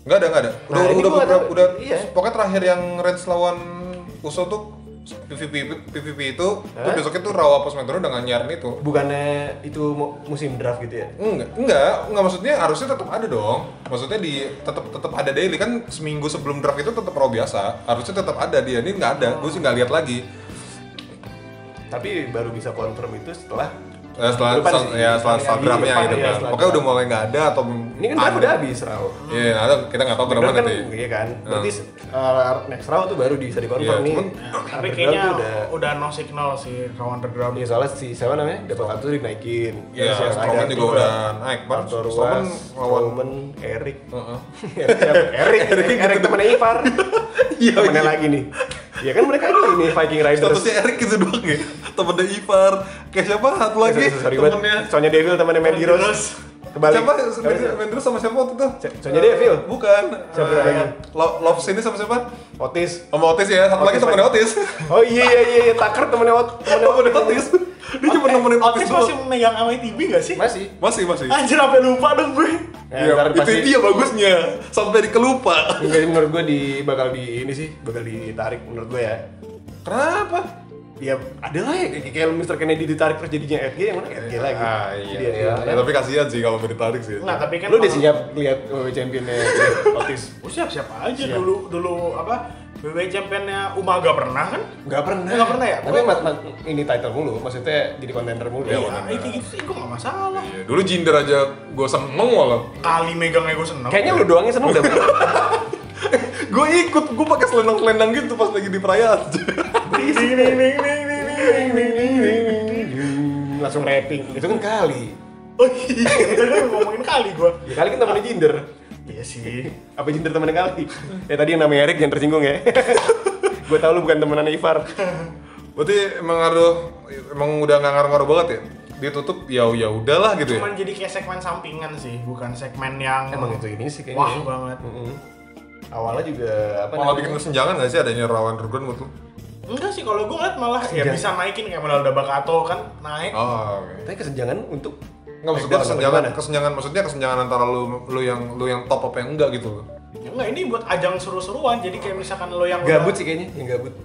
S2: Enggak ada, enggak ada.
S4: Nah,
S2: Udah udah
S4: ini gua nggak
S2: beberapa-
S4: tahu.
S2: udah
S4: Iya.
S2: pokoknya terakhir yang Reds lawan Uso tuh PVP PVP itu tuh
S4: Hah?
S2: besoknya tuh Raw apa SmackDown udah nggak nyiarin itu.
S4: bukannya itu mu- musim draft gitu ya
S2: Enggak, enggak, enggak maksudnya harusnya tetap ada dong. Maksudnya di tetap tetap ada daily kan seminggu sebelum draft itu tetap raw biasa. Harusnya tetap ada dia ini nggak ada. Gue sih nggak lihat lagi.
S4: tapi baru bisa confirm itu setelah
S2: Eh, setelah
S4: Depan
S2: setelah-
S4: sih,
S2: ya setelah
S4: depan
S2: setelah
S4: yang
S2: draftnya
S4: depan,
S2: gitu
S4: iya,
S2: kan.
S4: setelah
S2: Pokoknya udah
S4: draft.
S2: mulai nggak ada atau
S4: ini kan draft
S2: ada. ya?
S4: udah habis raw
S2: Iya, ada kita nggak tahu ke depan
S4: Draft kan
S2: nanti.
S4: iya kan berarti uh, next round tuh baru bisa dikonfirm
S2: Ah. Iya,
S4: nih
S2: cuman-
S3: tapi
S4: Underground
S3: kayaknya
S4: tuh udah
S3: udah... no signal sih raw underground.
S4: ya soalnya si siapa namanya dapat kartu dinaikin
S2: Iya,
S4: Terus yang
S2: Strowman
S4: ada
S2: juga
S4: tuh,
S2: udah naik. Bang.
S4: Arthur
S2: Strowman
S4: Ruas,
S2: lawan
S4: Strowman, Eric
S2: Heeh.
S4: Eric, Iya, Eric, Eric, Eric temennya Ivar iya temennya lagi nih ya kan mereka ini, ini Viking Riders
S2: Statusnya Erik gitu doang ya. Temennya Ivar. Kayak siapa? Satu lagi
S4: sorry banget.
S2: temennya.
S4: Sonya Devil temennya Mandy Rose kebalik
S2: Siapa?
S4: Kebalik.
S2: Mendro sama siapa waktu itu?
S4: So- Sonya Devil
S2: Bukan.
S4: Siapa
S2: Eh,
S4: lagi?
S2: Lo- Love sini sama siapa?
S4: Otis
S2: Sama Otis ya. Satu lagi
S4: Otis
S2: temennya
S4: lagi.
S2: Otis.
S4: oh iya iya iya iya, Tucker temennya Ot- temennya
S2: Oh, Temennya Otis. Dia cuma nemenin Otis
S3: Otis masih
S2: doang.
S3: memegang MITB gak sih?
S4: masih
S2: Masih, masih.
S3: Anjir sampai lupa dong gue.
S4: Ya,
S2: Iya, itu
S4: ntar pasti-
S2: dia bagusnya. Sampai dikelupa.
S4: Enggak sih, menurut gue di bakal di ini sih bakal ditarik menurut gue ya.
S2: Kenapa?
S4: Ya ada lah ya kayak- kayak Mr. Kennedy ditarik terus jadinya FG yang mana FG lagi.
S2: Ah, iya,
S4: Jadi
S2: iya.
S4: FG.
S2: Ya, tapi kasihan sih kalau mau ditarik sih.
S3: Nah, tapi kan
S4: Lu udah
S3: kalau-
S4: siap lihat WWE championnya Otis?
S3: Oh, siap siap aja dulu dulu apa WWE championnya Umaga pernah kan?
S4: Enggak pernah.
S3: Nggak pernah ya?
S4: Tapi mat, mat- ini title mulu, maksudnya jadi contender mulu.
S2: Iya,
S4: Iya.
S2: Wan.
S3: Nah, itu gitu sih gue gak masalah.
S2: Iya, dulu Jinder aja gue semeng walau.
S3: Kali megangnya gue seneng.
S4: Kayaknya lu doangnya seneng udah.
S2: gue ikut, gue pakai selendang-selendang gitu pas lagi di perayaan.
S3: Ding, ding, ding, ding, ding, ding, ding, ding, ding, ding, ding, ding.
S4: Langsung rapping. Itu kan kali.
S3: Oh iya, itu kan ngomongin kali gue.
S4: Ya kali kan temennya Jinder.
S3: Iya sih.
S4: Apa Jinder temennya kali? ya tadi yang namanya Eric yang tersinggung ya. gue tau lu bukan temenannya Ivar.
S2: Berarti emang ngaruh, emang udah nggak ngaruh-ngaruh banget ya? Ditutup ya ya udahlah gitu ya.
S3: Cuman jadi kayak segmen sampingan sih, bukan segmen yang
S4: Emang itu ini sih kayaknya.
S3: wah banget.
S4: Mm-mm. Awalnya juga apa
S2: Malah bikin
S4: namanya?
S2: kesenjangan nggak sih adanya rawan Underground menurut lu?
S3: Enggak sih kalau gue liat malah ya
S4: Iya.
S3: bisa naikin kayak modal Dabakato kan naik.
S2: Oh, oke.
S4: Tapi kesenjangan untuk
S2: Nggak maksud gue kesenjangan, kesenjangan maksudnya kesenjangan antara lu lu yang lu yang top apa yang enggak gitu loh.
S3: Ya enggak ini buat ajang seru-seruan jadi kayak misalkan lo yang
S4: Gabut sih kayaknya, yang gabut.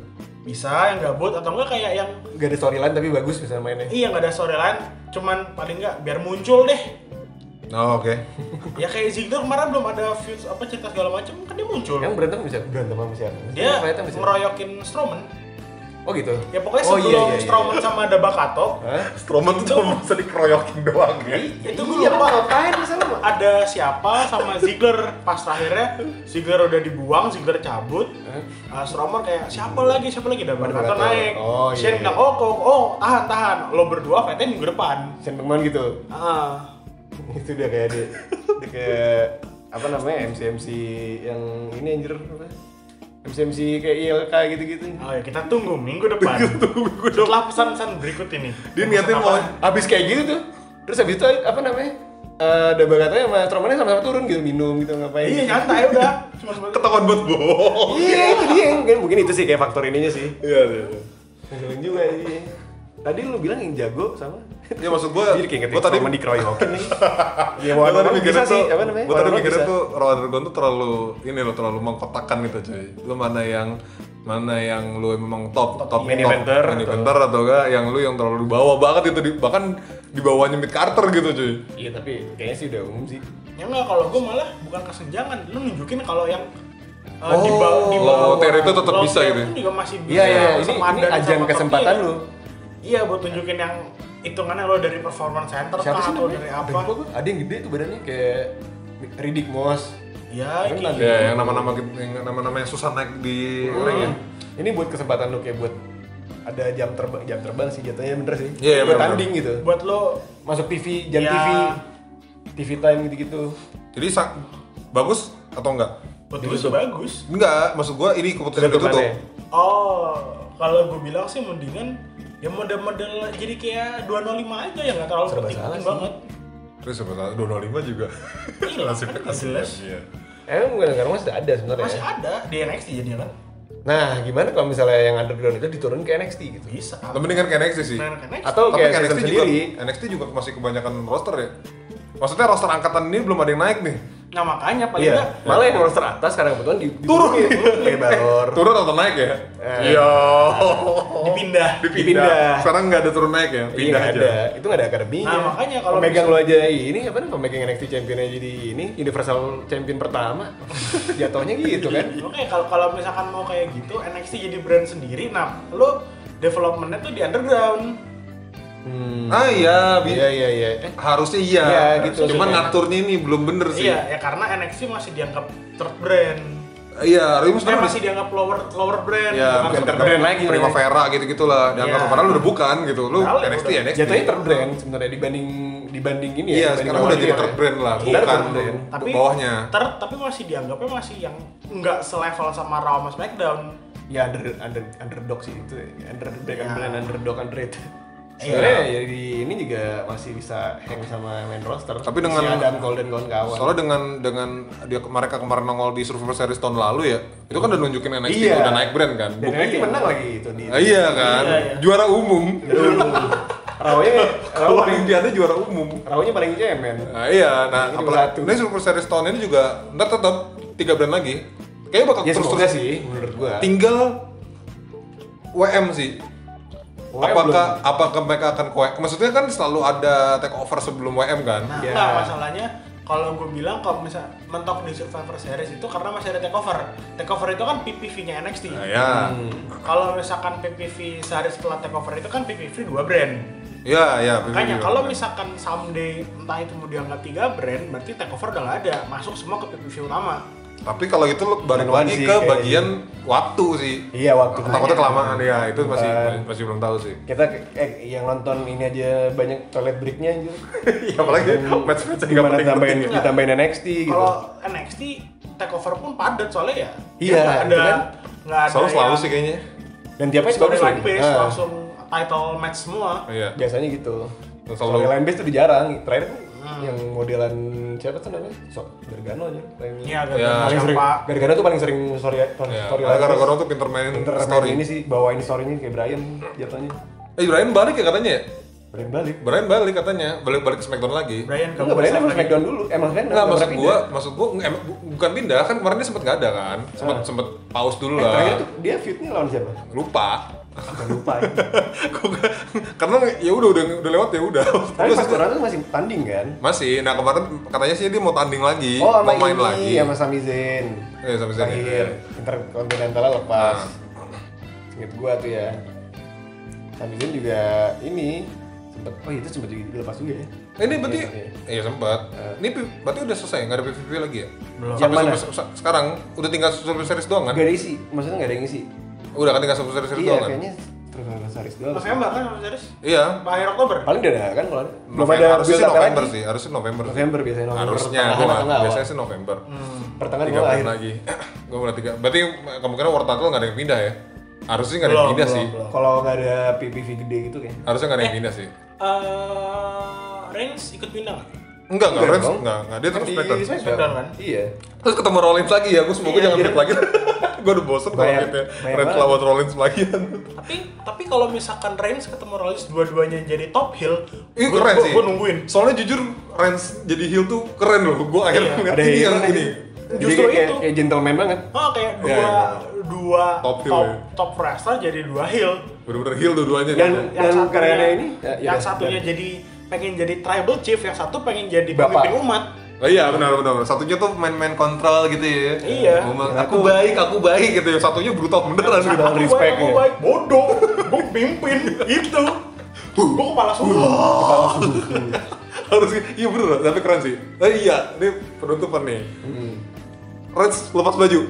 S3: bisa yang gabut atau enggak kayak yang
S4: Gak ada storyline tapi bagus misalnya mainnya.
S3: iya nggak ada sore lain cuman paling nggak biar muncul deh
S2: Oh, oke.
S3: ya kayak Ziggler kemarin belum ada views apa cerita segala macam kan dia muncul
S4: Yang berantem bisa berantem sama siapa?
S3: dia
S4: Fightnya sama siapa?
S3: ngeroyokin Strowman
S4: Oh gitu.
S3: ya pokoknya
S4: Oh, iya,
S3: sebelum
S4: iya, iya.
S3: Strowman sama Dabakato
S4: Hah?
S2: Strowman tuh cuma bisa dikeroyokin doang ya.
S3: itu gue
S4: Iya,
S3: lupa
S4: ngapain sama?
S3: ada siapa sama Ziggler pas akhirnya Ziggler udah dibuang Ziggler cabut uh, Strowman kayak siapa lagi siapa lagi Dabakato
S4: Dabakato.
S3: naik
S4: Oh, iya,
S3: Shane
S4: iya.
S3: bilang oh kok oh tahan tahan lo berdua fightnya minggu depan
S4: Sen McMahon gitu.
S3: Ah.
S4: Itu dia kayak dia, dia kayak apa namanya MC MC yang ini anjir apa? MC MC kayak ILK gitu-gitu.
S3: Oh ya kita tunggu minggu depan. Setelah pesan-pesan berikut ini.
S2: Dia niatnya mau
S4: Abis kayak gitu tuh. Terus abis itu apa namanya? Eh, ada bakatnya sama Strowman sama-sama turun gitu minum gitu ngapain?
S3: Iya nyantai udah. Cuma sebentar.
S2: ketahuan buat bohong.
S4: Iya itu dia yang mungkin, mungkin itu sih kayak faktor ininya sih.
S2: Iya, iya. iya.
S4: Ngeselin juga iya. Tadi lu bilang yang jago sama
S2: Ya maksud gua,
S4: Jadi kayak
S2: gua
S4: gua
S2: tadi-
S4: tadi dikeroyokin nih. Ya
S2: Gua
S4: mau
S2: tadi
S4: ada
S2: mikirnya
S4: bisa
S2: tuh,
S4: sih, apa namanya?
S2: gua tadi
S4: Warna-warna
S2: mikirnya
S4: bisa.
S2: tuh Raw Underground tuh terlalu ini loh terlalu mengkotakkan gitu cuy. Lu mana yang mana yang lu memang top top
S4: main
S2: top,
S4: eventer
S2: main
S4: atau-
S2: eventer atau enggak yang lu yang terlalu di bawah banget itu di, bahkan di bawahnya Mid Carter gitu cuy.
S4: Iya tapi kayaknya sih udah umum sih.
S3: Ya enggak kalau gue malah bukan kesenjangan. Lu nunjukin kalau yang eh,
S2: Oh,
S3: ba-
S2: low tier itu tetap
S3: Low
S2: bisa
S3: tier
S2: gitu.
S3: pun juga masih bisa.
S4: Iya iya ini
S3: Sama
S4: ini
S3: ada sama
S4: ajang
S3: top
S4: kesempatan
S3: tier.
S4: lu.
S3: Iya buat tunjukin yang hitungannya lo dari performance center
S4: Siapa
S3: kah,
S4: sih
S3: atau
S4: namanya?
S3: dari
S4: Ada lupa
S3: apa?
S4: gua. Ada yang gede tuh badannya kayak Riddick Moss.
S3: Ya
S4: Kan
S3: kayak
S4: tadi.
S3: gitu.
S2: Ya yang nama-nama gitu- yang nama-nama yang susah naik di
S4: Hmm.
S2: ring ya.
S4: Ini buat kesempatan lu kayak buat ada jam terbang jam terbang sih jatuhnya bener sih.
S2: Iya, iya,
S4: Buat
S2: bener-bener.
S4: tanding gitu.
S3: buat lo
S4: Masuk TV jam
S3: Iya.
S4: TV TV time gitu-gitu.
S2: Jadi sa- bagus atau enggak?
S3: buat lo bagus.
S2: Enggak, maksud gua ini keputusan
S4: Penutupannya.
S2: ditutup.
S3: Oh, kalau gue bilang sih mendingan ya model-model jadi kayak 205 aja ya nggak terlalu penting penting banget
S2: Terus sebentar 205 juga.
S3: Iya,
S2: Nasib
S3: kan
S2: nasib
S3: jelas.
S2: dia.
S4: Emang bukan sekarang masih ada sebenarnya.
S3: masih
S4: ya?
S3: ada di NXT jadinya kan
S4: Nah, gimana kalau misalnya yang underground itu diturunin ke NXT gitu?
S3: bisa
S2: Tapi mendingan ke NXT sih.
S3: Nah, ke NXT.
S4: Atau
S2: Tapi
S4: kayak
S2: ke NXT
S4: season
S2: juga,
S4: sendiri?
S2: NXT juga masih kebanyakan roster ya. Maksudnya roster angkatan ini belum ada yang naik nih.
S3: nah makanya paling nggak
S4: Iya. Malah yang roster atas sekarang kebetulan di Iya, turun Iya, kayak balor.
S2: Turun atau naik ya?
S4: Eh.
S2: Iya.
S4: Oh.
S3: dipindah
S2: Dipindah.
S4: Dipindah.
S2: Sekarang nggak ada turun naik ya, pindah
S4: Iya,
S2: aja.
S4: Ada. Itu nggak ada akademinya.
S3: Nah, makanya kalau
S4: pemegang
S3: bisa-
S4: lo aja ini apa nih pemegang NXT champion aja di ini Universal Champion pertama jatuhnya gitu kan.
S3: Oke, kalau kalau misalkan mau kayak gitu, NXT jadi brand sendiri. Nah, lo developmentnya tuh di underground.
S4: Hmm.
S2: Ah iya, bi-
S4: Iya iya iya. Eh,
S2: harusnya iya.
S4: Iya, gitu.
S2: Cuman
S4: Maksudnya.
S2: ngaturnya ini belum bener sih.
S3: Iya, ya karena NXT masih dianggap third brand.
S2: Iya, harusnya
S3: Maksudnya
S2: sekarang
S3: masih dianggap lower lower
S4: Iya,
S3: brand.
S2: ya
S3: bukan
S2: bukan
S4: bukan
S3: third
S4: terbrand
S2: terbrand
S4: lagi,
S2: lagi Primavera gitu-gitulah. Dianggap
S3: Iya.
S2: padahal lu udah bukan gitu. Lu
S3: Padahal ya
S2: NXT
S3: udah.
S2: ya NXT.
S4: jatuhnya terbrand sebenarnya dibanding dibanding
S2: Iya,
S4: ini ya. dibanding
S2: sekarang udah
S4: lawan
S2: jadi
S4: dia.
S2: third brand lah,
S4: Iya,
S2: bukan
S4: third brand.
S3: Tapi
S2: bawahnya.
S3: Third, tapi masih dianggapnya masih yang nggak selevel sama Raw sama SmackDown.
S4: Ya under under underdog sih itu. Underdog
S3: Iya.
S4: brand underdog underrated. Sebenarnya ya di ini juga masih bisa hang sama main roster.
S2: Tapi dengan-
S4: si Adam Cole dan kawan-kawan.
S2: Soalnya dengan dengan dia mereka kemarin nongol di Survivor Series tahun lalu ya, itu kan udah nunjukin NXT
S4: Iya.
S2: udah naik brand kan.
S4: Dan
S2: Buk-
S4: NXT menang lagi itu di.
S2: Ah, iya kan,
S3: Iya, iya.
S2: juara umum.
S4: Rawanya raw
S2: Kalau
S4: paling
S2: Olimpiade juara umum.
S4: rawanya paling cemen.
S2: Nah, iya, nah
S4: Ini
S2: apalagi
S4: dua satu.
S2: ini Survivor Series tahun ini juga ntar tetap tiga brand lagi. Kayaknya bakal
S4: Ya
S2: terus
S4: semoga
S2: terus
S4: sih menurut gua.
S2: tinggal WM sih.
S4: WM
S2: apakah apakah mereka akan ke WM? Maksudnya kan selalu ada take over sebelum WM kan?
S3: Nah,
S4: Iya.
S3: nggak, masalahnya kalau gue bilang kalau misal mentok di Survivor Series itu karena masih ada takeover. Takeover itu kan PPV-nya NXT.
S2: Nah, ya.
S3: Hmm. Kalau misalkan PPV sehari setelah takeover itu kan PPV dua brand.
S2: Ya, ya. PPV.
S3: Makanya kalau misalkan someday entah itu mau dianggap tiga brand, berarti takeover udah nggak ada, masuk semua ke PPV utama.
S2: Tapi kalau gitu lu balik
S4: Bukan
S2: lagi
S4: sih,
S2: ke
S4: kayaknya.
S2: bagian waktu sih.
S4: Iya waktu
S2: Takutnya kelamaan ya, itu masih
S4: Bukan.
S2: masih belum tahu sih.
S4: kita ke- eh, yang nonton ini aja banyak toilet breaknya anjir.
S2: Iya, apalagi match-match yang nggak
S4: gimana
S2: penting-penting.
S4: tambahin
S3: Nggak.
S4: ditambahin NXT gitu.
S3: Kalau NXT takeover pun padat soalnya ya.
S4: Iya,
S3: Dia nggak ada
S4: itu kan.
S3: nggak ada.
S2: Selalu selalu
S4: Iya.
S3: yang
S2: sih kayaknya.
S4: Dan tiap match bagus
S3: Storyline
S4: lagi.
S3: based
S4: Ah,
S3: langsung title match semua.
S2: Iya.
S4: Biasanya gitu.
S2: Dan selalu-
S4: Storyline base tuh jarang. Terakhir tuh
S3: Hmm.
S4: yang modelan siapa tuh namanya? Sok Gargano aja. paling-
S3: Iya, agak
S2: Ya.
S4: Paling sering
S3: siapa?
S4: Gargano tuh paling sering story
S2: Iya.
S4: storyline.
S2: Karena
S4: base.
S2: gara-gara tuh pinter main
S4: Pinter
S2: story.
S4: story ini sih bawain storynya kayak Brian jatuhnya.
S2: Eh, Brian balik ya katanya ya?
S4: Brian balik.
S2: Brian balik katanya, balik-balik ke SmackDown lagi.
S3: Brian kamu
S4: Enggak Brian
S3: bisa
S4: sama
S3: lagi.
S4: Smackdown dulu. Emang Brian
S2: Enggak,
S4: nggak
S2: maksud
S4: pernah
S2: gua,
S4: pindah.
S2: maksud gua em, bu- bukan pindah kan kemarin dia sempet gak ada kan, sempet sempet pause dulu
S4: Ah. Eh, terakhir
S2: lah,
S4: tuh dia feudnya lawan siapa?
S2: lupa.
S4: Aku lupa. ya.
S2: Gua nggak- Karena ya udah udah udah lewat ya udah.
S4: Tapi pas orang tuh masih tanding kan?
S2: Masih, nah kemarin katanya sih dia mau tanding lagi,
S4: Oh, sama
S2: mau main
S4: ini,
S2: Iya, lagi.
S4: sama Sami Zayn.
S2: Iya, Sami Zayn, iya. Nah.
S4: Terakhir, Interkontinentalnya lepas. Ingat gua tuh ya. Sami Zayn juga ini sempet, oh itu sempet juga dilepas juga ya.
S2: Eh, ini berarti,
S4: Iya,
S2: iya sempet.
S4: Eh.
S2: Ini pi- berarti udah selesai, nggak ada PVP lagi ya?
S3: Belum.
S2: Sampai
S4: Yang mana?
S2: Survivor Se- sekarang udah tinggal Survivor Series doang kan?
S4: Gak ada isi, maksudnya gak ada yang isi.
S2: Udah kan tinggal Survivor Series
S4: Iya,
S2: doang kan?
S4: kayaknya Survivor Series doang.
S3: November kan series?
S2: Iya.
S3: Akhir Oktober.
S4: Paling udah ada kan kalau ada. belum
S2: November,
S4: ada
S2: harusnya
S4: build
S2: sih
S4: up
S2: November
S4: lagi.
S2: sih, harusnya November. sih.
S4: November biasanya November.
S2: harusnya
S4: pertengahan
S2: gua,
S4: atau nggak awal.
S2: biasanya sih November.
S4: pertengahan
S2: tiga
S4: gua
S2: bulan
S4: akhir.
S2: lagi gue mulai tiga berarti kemungkinan war title nggak ada yang pindah ya harusnya nggak ada yang
S3: Belum,
S2: pindah
S3: belum,
S2: sih
S3: belum.
S4: Kalau nggak ada PPV gede gitu kayaknya.
S2: harusnya nggak ada yang pindah sih
S3: Eh, Reigns ikut pindah nggak?
S2: enggak enggak
S4: Enggak
S2: Reigns
S4: dong.
S2: enggak enggak dia terus
S4: Kan di
S2: Smackdown
S3: Smackdown kan?
S4: Iya.
S2: terus ketemu Rollins lagi ya gue semoga
S4: Iya,
S2: jangan
S4: iya.
S2: pick lagi gue udah bosen kalau
S4: Bayar-
S2: gitu ya
S4: bayar
S2: Reigns
S4: banget.
S2: lawan Rollins lagi
S3: Tapi tapi kalau misalkan Reigns ketemu Rollins dua-duanya jadi top heel,
S2: ini
S3: gua-
S2: keren
S3: gua-
S2: sih
S3: Gua nungguin.
S2: soalnya jujur Reigns jadi heel tuh keren loh gue akhirnya
S3: Iya,
S2: ngeliat
S4: Ada
S2: ini
S4: yang
S2: yang ini
S4: Jadi
S3: Justru
S4: kayak,
S3: itu.
S4: kayak gentleman banget.
S3: Oh kayak
S4: ya,
S3: dua
S2: Iya, iya,
S3: dua
S2: Top
S3: top
S2: heel
S3: top,
S2: ya.
S3: wrestler jadi dua heel.
S2: bener-bener heel dua-duanya
S4: Dan
S2: nih.
S4: yang kerennya ini, ya, ya,
S3: yang
S4: ya.
S3: satunya jadi pengen jadi tribal chief, yang satu pengen jadi
S4: Bapak.
S3: pemimpin umat.
S2: Oh iya benar benar. Satunya tuh main-main kontrol gitu ya.
S3: Iya.
S2: Ngomong, aku baik, aku baik gitu ya. Satunya brutal beneran gitu.
S4: Satu-
S3: Aku
S4: respect
S3: baik, aku
S4: ya.
S3: baik. Bodoh, gua pimpin gitu. Gua kepala suhu.
S2: harus iya bener lah, tapi keren sih eh, iya ini penutupan nih Reds lepas baju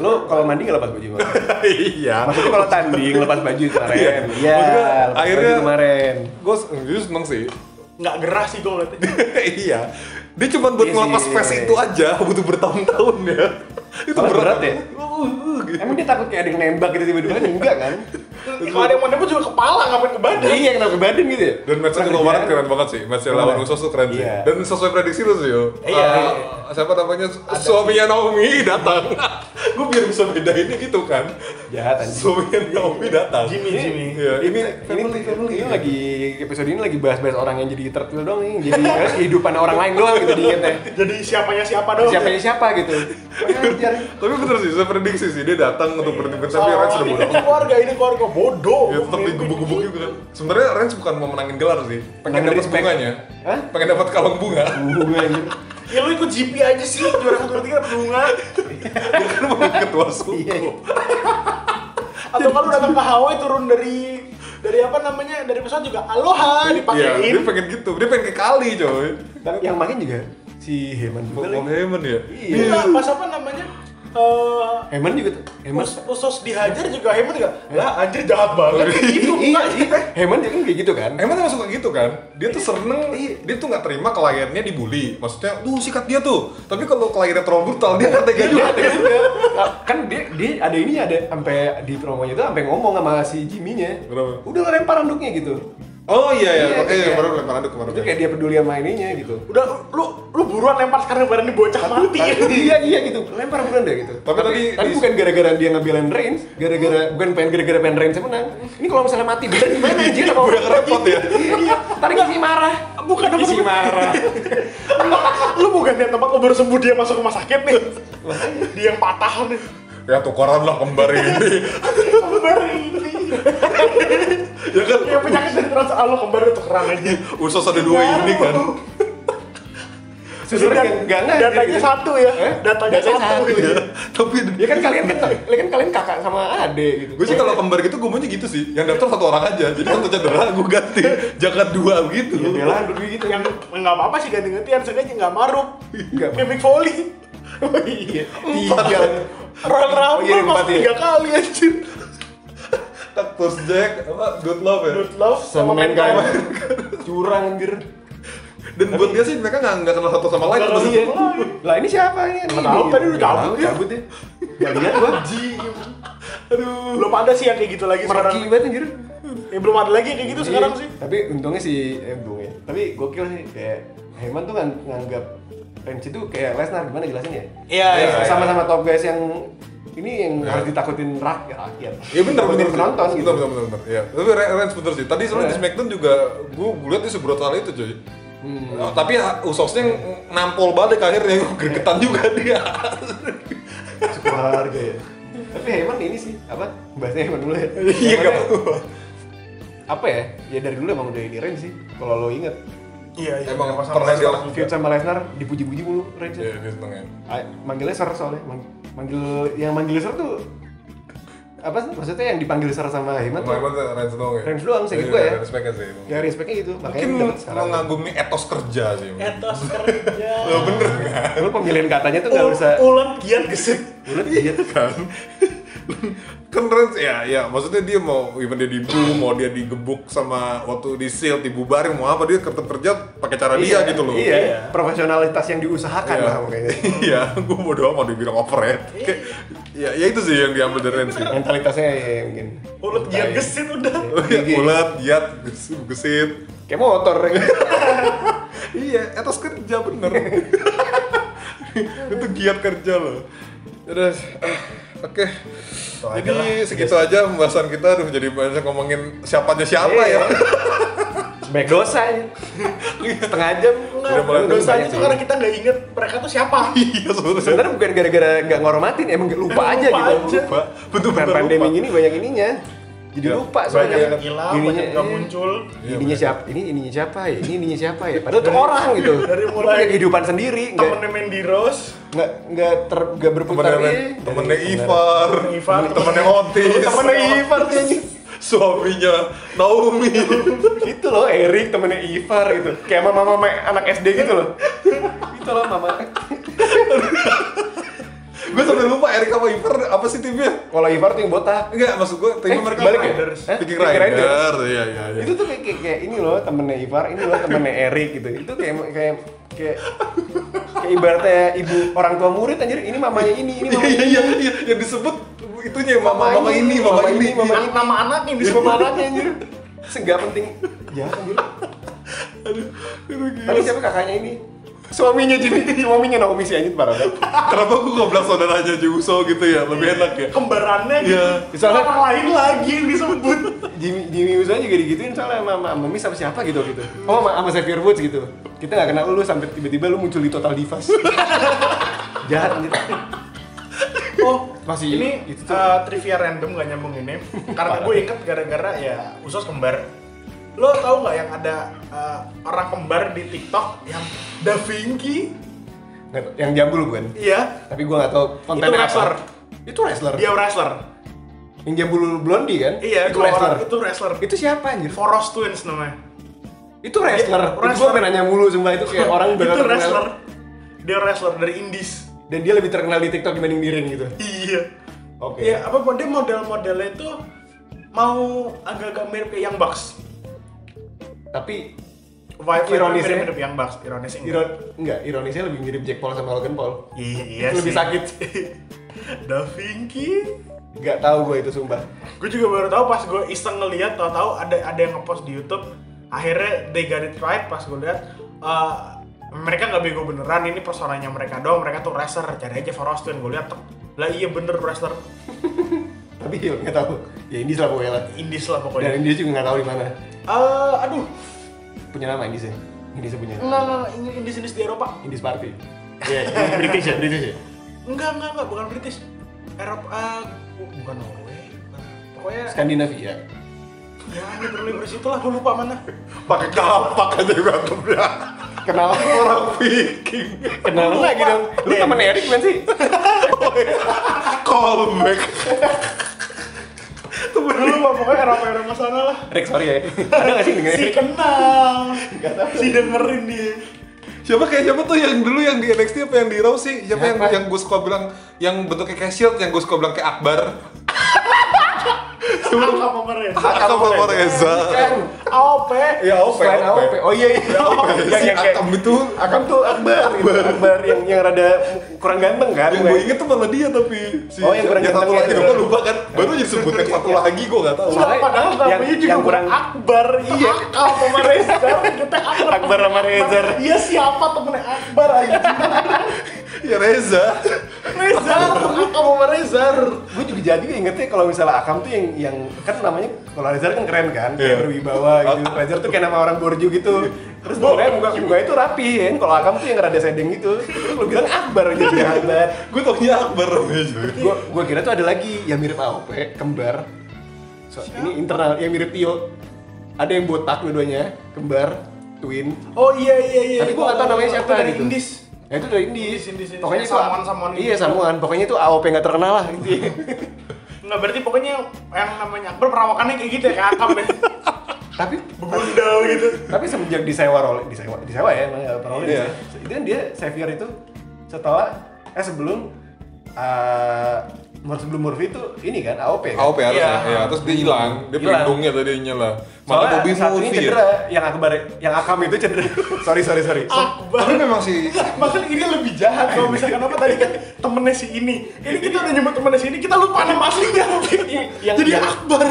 S4: Lo kalau mandi nggak lepas baju Bang?
S2: iya
S4: Maksudnya kalau tanding lepas baju kemarin. Iya,
S2: Maksudnya,
S4: lepas
S2: akhirnya-
S4: baju kemarin.
S2: gue jujur seneng sih
S3: Nggak gerah sih gua ngeliatnya.
S2: iya dia cuma buat
S4: Iya
S2: ngelepas
S4: sih.
S2: face itu aja butuh bertahun-tahun ya itu
S4: Soalnya berat ya?
S2: Oh,
S4: uh, uh, gitu. Emang dia takut kayak ada yang nembak gitu tiba-tiba kan? Enggak kan?
S3: Kalau ada yang mau nembak juga kepala ngapain ke badan.
S4: Iya, kenapa ke badan gitu ya?
S2: Dan matchnya juga kemarin keren banget sih, matchnya
S4: Kemana?
S2: lawan Usos tuh keren sih.
S4: Iya.
S2: Dan sesuai prediksi lu sih yo.
S4: Iya.
S2: Eh, siapa namanya suaminya Naomi datang. Gue biar bisa bedainnya gitu kan.
S4: Jahat anjing.
S2: Suaminya Naomi datang.
S3: Jimmy, Jimmy.
S2: Iya,
S4: ini ini, ini lagi episode ini lagi bahas-bahas orang yang jadi tertil doang nih, jadi bahas kehidupan orang lain doang gitu diingetnya.
S3: Jadi siapanya siapa doang.
S4: Siapanya siapa gitu. Anjir.
S2: Tapi bener sih, saya prediksi sih dia datang untuk
S4: Iya.
S2: bertemu tapi
S3: Salah,
S2: Reigns udah
S3: Oh,
S2: bodo
S3: ini
S2: amat.
S4: Oh.
S3: keluarga, ini keluarga bodoh.
S2: Ya tetap digebuk-gebuk juga kan. Sebenarnya Reigns bukan mau menangin gelar sih, pengen
S4: Menang
S2: dapat
S4: respect.
S2: bunganya.
S4: Hah?
S2: Pengen dapat kalung bunga.
S4: Bunga anjir.
S3: Ya lu ikut GP aja sih, juara satu dua tiga dapet bunga.
S2: Bukan kan mau ketua
S4: Iya.
S2: suku.
S3: Atau kalau lu datang ke Hawaii turun dari dari apa namanya dari pesawat juga
S4: Ah,
S2: Iya,
S3: aloha
S2: dia
S3: dipakein.
S2: pengen gitu. Dia pengen ke kali, coy.
S4: Tapi yang makin juga si Heman juga.
S2: Om
S4: lagi.
S2: Heyman ya.
S4: Iya.
S3: Enggak, pas apa namanya? eh
S4: Heman juga tuh. Heman.
S3: Us- usus dihajar juga Heman juga lah anjir jahat banget gitu
S4: Iya,
S3: enggak
S4: iya. Heman juga kan kayak gitu kan.
S2: Emang emang suka gitu kan? Dia tuh
S4: Iya.
S2: seneng, dia tuh nggak terima kliennya dibully. Maksudnya, tuh sikat dia tuh. Tapi kalau kliennya terlalu brutal, dia nggak tega juga.
S4: Ada juga. Nah, kan dia, dia ada ini ada sampai di promonya itu sampai ngomong sama si Jimmy-nya.
S2: Kenapa?
S4: Udah lo lempar anduknya gitu.
S2: Oh iya iya,
S4: Iya,
S2: oke
S4: iya.
S2: baru lempar aduk kemarin.
S4: Itu kayak dia peduli sama ininya gitu.
S3: udah lu lu buruan lempar sekarang barang ini bocah mati
S4: iya iya gitu lempar bulan deh gitu
S2: Tapi tadi-
S4: tapi
S2: di-
S4: bukan gara-gara dia ngambilin Reigns gara-gara bukan pengen gara-gara pengen Reigns yang menang ini kalau misalnya mati bener gimana anjir kalau
S2: Udah Iya, repot ya.
S4: iya tadi isi marah
S3: Bukan, bukan.
S4: isi marah
S3: lu bukan yang tempat lu baru sembuh dia masuk rumah sakit nih dia yang patah nih
S2: Ya tukaran lah kembar ini.
S3: kembar ini
S2: ya kan?
S3: yang penyakit dari trans ah, lu kembar itu kerang aja
S2: Usus ada dua
S4: Iya.
S2: ini kan.
S4: sebenarnya enggak enggak
S3: kan datanya satu ya
S4: Eh?
S3: datanya,
S4: Datanya
S3: satu,
S4: satu,
S3: ya.
S2: Iya. Tapi
S4: ya kan kalian kan kan kalian kakak sama ade gitu
S2: gue sih kalau kembar gitu gue maunya gitu sih. Yang daftar satu orang aja. Jadi kalau cedera gue ganti. Jangan dua gitu.
S4: ya bela dulu gitu
S3: yang nggak apa-apa sih ganti-gantian sengaja nggak maruk
S4: Nggak
S3: kayak Mick Foley
S4: oh iya
S2: Empat.
S4: tiga
S3: Royal
S4: Oh, iya,
S3: Rumble
S4: empat
S3: masuk
S4: ya.
S3: tiga kali anjir
S2: Kaktus Jack, apa good love ya.
S3: Good Love
S4: sama main
S3: Mankind.
S4: kawan curang anjir
S2: Dan buat dia sih mereka nggak nggak kenal satu sama lain.
S3: Nggak
S2: Terus
S3: kenal.
S4: Iya. lah ini siapa ini
S3: Nggak tahu, tadi udah cabut ya.
S4: cabut ya Gak lihat gua
S3: Aduh. Belum ada sih yang kayak gitu lagi sekarang.
S4: meraki banget anjir
S3: Ya belum ada lagi yang kayak gitu sekarang
S4: Iya.
S3: sih.
S4: tapi untungnya sih eh, untungnya tapi gokil sih kayak Heyman tuh ngang- nganggap Renci tuh kayak Lesnar gimana jelasin ya
S3: Iya,
S4: Kayak
S2: iya, iya.
S4: sama-sama top guys yang ini yang harus ditakutin rakyat rakyat
S2: Iya bener
S4: Takutin
S2: bener
S4: penonton gitu
S2: Bener bener bener. bener. Iya. Tapi Re- Reigns bener sih. Tadi
S4: Iya.
S2: sebenarnya di Smackdown juga gue lihat dia sebrutal itu coy.
S4: Hmm.
S2: Nah, tapi Usosnya ng- nampol balik akhirnya gue gregetan juga dia.
S4: Cukup harga ya tapi Heyman ini sih apa bahasnya Heyman dulu ya
S2: Iya
S4: Heyman
S2: gak
S4: ya,
S2: apa-apa.
S4: apa ya ya dari dulu emang udah ini Renci sih kalau lo inget
S3: Iya, iya.
S2: Emang
S3: Sama-sama
S2: pernah
S3: sekarang.
S2: dia-
S4: feud sama Lesnar dipuji-puji mulu Renci
S2: Iya, dia seneng ya.
S4: Ah, manggilnya ser soalnya Mang- manggil yang manggil ser tuh apa sih maksudnya yang dipanggil ser sama Hemat tuh
S2: Emang Reigns doang ya.
S4: Reigns doang sih, gitu ya.
S2: Reigns pakai sih. emang.
S4: ya respectnya itu makanya
S2: Mungkin
S4: dapat sekarang
S2: mengagumi etos kerja sih. emang.
S3: Etos kerja.
S2: Lo bener kan?
S4: lu pemilihan katanya tuh
S2: Oh,
S4: nggak
S3: Ul-
S4: usah
S3: Ulen giat gesit.
S4: bulat iya
S2: kan kan Rens ya ya maksudnya dia mau even dia dibu mau dia digebuk sama waktu di seal dibubarin mau apa dia tetap kerja pakai cara dia gitu loh
S4: iya profesionalitas yang diusahakan
S2: Iya.
S4: lah makanya
S2: iya gue bodo amat dibilang overhead kayak ya, ya itu sih yang diambil dari Rens sih
S4: mentalitasnya ya, ya mungkin
S3: Ulen giat
S4: Iya.
S3: gesit udah.
S4: Gigi.
S2: ulat giat gesit, gesit.
S4: kayak motor
S2: iya etos kerja bener itu giat kerja loh terus eh, oke Jadi segitu aja pembahasan kita udah jadi banyak ngomongin siapanya siapa
S4: Iya.
S2: ya.
S4: baik dosa ya setengah jam
S2: Udah mulai
S3: Dosanya
S4: banyak
S3: itu
S4: sih.
S3: karena kita nggak inget mereka tuh siapa.
S2: Iya sebenarnya.
S4: sebenarnya bukan gara-gara nggak ngormatin emang nggak lupa aja
S3: Lupa
S4: gitu
S3: aja.
S2: Lupa. Betul-betul
S4: Bukan
S2: lupa.
S4: pandemi ini banyak ininya jadi
S2: Iya.
S4: lupa
S2: Banyak
S4: soalnya
S2: yang
S3: Gila,
S4: Ininya-
S3: banyak nggak
S4: iya.
S3: muncul.
S2: Iya,
S4: ininya
S2: bener.
S4: siapa ini ininya siapa ya ini ininya siapa ya padahal tuh orang gitu
S3: dari
S4: Lu
S3: mulai
S4: punya kehidupan sendiri nggak
S3: Temennya Mandy Rose,
S4: nggak nggak ter nggak berputar
S2: Temennya,
S4: iya.
S2: temennya
S4: Dari-
S2: Ivar,
S3: Temen Ivar,
S2: temennya
S3: Iya,
S2: Otis,
S4: temennya Ivar sih anjing.
S2: suaminya Naomi.
S4: itu Gitu loh Erik temennya Ivar gitu kayak mama mama anak SD gitu loh itu loh mama
S2: gue sampai lupa Erik sama Ivar apa sih timnya?
S4: kalau Ivar tuh yang botak
S2: Enggak, maksud gue timnya
S4: Eh,
S2: mereka
S4: balik ya?
S2: Riders.
S4: Hah?
S2: Viking
S4: Viking
S2: Riders.
S4: Riders.
S2: Iya, iya, iya.
S4: itu tuh kayak, kayak, kayak ini loh temennya Ivar ini loh temennya Erik gitu itu kayak kayak kayak kayak ibaratnya ibu orang tua murid anjir ini mamanya ini ini mamanya
S2: Iya iya iya yang disebut itunya mama mama ini mama ini.
S4: mama ini
S3: Nama anaknya di
S4: Ini
S3: sebelah
S4: anaknya anjir Seenggak penting ya anjir
S2: Aduh, gila.
S4: tapi siapa kakaknya ini suaminya jadi suaminya Naomi sih anjir parah banget
S2: Kenapa gue gak bilang saudara aja Jiuso gitu ya? Lebih enak ya?
S3: kembarannya
S2: Iya.
S3: gitu. Orang lain lagi yang disebut.
S4: Jimmy, Jimmy Uso juga digituin soalnya sama, sama Mami sama siapa gitu gitu oh sama, sama Xavier Woods gitu kita gak kenal lu sampai tiba-tiba lu muncul di Total Divas jahat anjir
S3: Oh,
S4: Masih
S3: ini
S4: itu tuh.
S3: eh, trivia random gak nyambung ini. Karena gue inget gara-gara ya usus kembar. Lo tau nggak yang ada eh, orang kembar di TikTok yang Da Vinci?
S4: Nggak tau, yang jambul bukan
S3: Iya,
S4: tapi gua gak tau kontennya apa.
S3: wrestler.
S4: itu wrestler
S3: dia wrestler.
S4: yang jambul blondie kan
S3: Iya,
S4: itu
S3: dua orang,
S4: wrestler
S3: Itu wrestler.
S4: itu siapa anjir
S3: Foros Twins namanya.
S4: itu wrestler,
S3: Iya,
S4: itu
S3: wrestler.
S4: gua pengen nanya mulu sumpah itu kayak Iya, orang
S3: itu
S4: bener-bener
S3: wrestler. Dia wrestler dari Indies.
S4: dan dia lebih terkenal di TikTok dibanding di ring gitu
S3: Iya.
S4: oke
S3: Iya, apa dia model-modelnya itu mau agak-agak mirip kayak Young Bucks.
S4: tapi
S3: Vibe
S4: Ironisnya-
S3: mirip-mirip Young Bucks, ironisnya enggak.
S4: iron enggak ironisnya lebih mirip Jack Paul sama Logan Paul
S3: Iya
S4: Itu lebih
S3: sih.
S4: sakit.
S3: da Vinci.
S4: Gak tahu gue itu sumpah.
S3: Gue juga baru tahu pas gue iseng ngeliat, tahu-tahu ada ada yang ngepost di YouTube. Akhirnya they got it right pas gue lihat eh, mereka nggak bego beneran ini personanya mereka doang mereka tuh wrestler cari aja for Austin gue lihat lah iya bener wrestler
S4: Tapi Hill nggak tahu. Ya ini lah pokoknya lah.
S3: indies lah pokoknya
S4: Dan dia juga nggak tahu di mana.
S3: Eh, aduh
S4: Punya nama Indis ya. Indis punya.
S3: enggak enggak enggak, ini indies indies di Eropa
S4: Indis Party. Ya, ini British ya, British ya.
S3: Enggak, enggak, enggak, bukan British. Eropa, eh, bu- bukan Norway. Pokoknya,
S4: Skandinavia.
S3: ya ini berlibur situ lah, gue lupa mana.
S2: Pakai kapak aja berantem ya.
S4: Kenal
S2: Orang Viking.
S4: kenal
S3: Lupa.
S4: lagi dong. Lu temen Erik kan sih?
S2: Call back.
S3: Gue lupa, pokoknya Eropa, Eropa sana lah.
S4: Rick sorry ya. Ada nggak sih dengan
S3: Si
S4: Erik?
S3: kenal, si dengerin dia.
S2: Siapa kayak siapa tuh yang dulu yang di NXT apa yang di Raw sih? Siapa, yang
S4: Siapa?
S2: yang gue suka bilang yang bentuknya kayak shield, yang gue suka bilang kayak Akbar.
S3: Apa pemerintah?
S4: Ah.
S2: Akbar sama Reza.
S4: Kan.
S3: AOP.
S4: Iya,
S2: Ya OP.
S4: Selain AOP. Oh iya iya. Yang
S2: Si
S4: yang kayak
S2: Akam itu
S4: Akam tuh Akbar, gitu. Akbar yang yang rada kurang ganteng kan?
S2: yang gue inget tuh malah dia tapi si
S4: Oh, yang kurang
S2: satu
S4: ganteng
S2: lagi
S4: ya.
S2: gue lupa kan baru aja disebut yang satu lagi gue gak tahu
S3: Soalnya padahal
S4: yang-
S3: namanya juga
S4: yang
S3: bukan
S4: kurang-
S3: Akbar, iya Akal sama Rezar, kita Akbar
S4: Akbar sama Rezar.
S3: Iya siapa temennya Akbar aja
S2: ya Reza
S3: Rezar, Akal sama Rezar
S4: gue juga jadi ingetnya kalau misalnya Akam tuh yang yang kan namanya kalau Rezar kan keren kan kayak
S2: Iya.
S4: berwibawa gitu Rezar tuh kayak nama orang borju gitu terus mukanya muka muka itu rapi ya kalau Akam tuh yang rada sedeng gitu terus lu bilang Akbar gitu ya Akbar
S2: gue taunya Akbar aja
S4: gue gue kira tuh ada lagi yang mirip AOP kembar so, ini internal yang mirip Tio ada yang botak dua-duanya kembar twin
S3: Oh iya iya iya
S4: tapi gue gak tau namanya siapa
S3: Itu dari
S4: gitu.
S3: Indis
S4: Ya itu dari Indis,
S3: Indis, Indis, Indis.
S4: Pokoknya itu
S3: Samuan-samuan gitu.
S4: Iya, samuan. Pokoknya itu AOP nggak terkenal lah gitu.
S3: Nggak berarti pokoknya yang namanya Akbar perawakannya kayak gitu ya kayak Akam ya
S4: Tapi
S3: Begundal gitu
S4: tapi semenjak disewa Rolling disewa disewa ya emang ya Rolling
S2: Iya.
S4: disewa. itu kan dia Xavier itu setelah eh sebelum eh sebelum Murphy itu ini kan AOP kan
S2: AOP harusnya,
S3: Iya.
S2: ya. Terus dia hilang, dia
S4: Hilang.
S2: pelindungnya tadinya lah. Malah
S4: Soalnya
S2: Bobby
S4: saat ini
S2: Murphy. ya.
S4: cedera yang akbar yang akam itu cedera sorry sorry sorry
S3: Akbar
S2: Tapi memang si
S3: Maksudnya ini lebih jahat kalau misalkan apa tadi kan temennya si ini Ini kita udah nyebut temennya si ini, kita lupa nama aslinya
S4: yang-
S3: Jadi
S4: yang-
S3: Akbar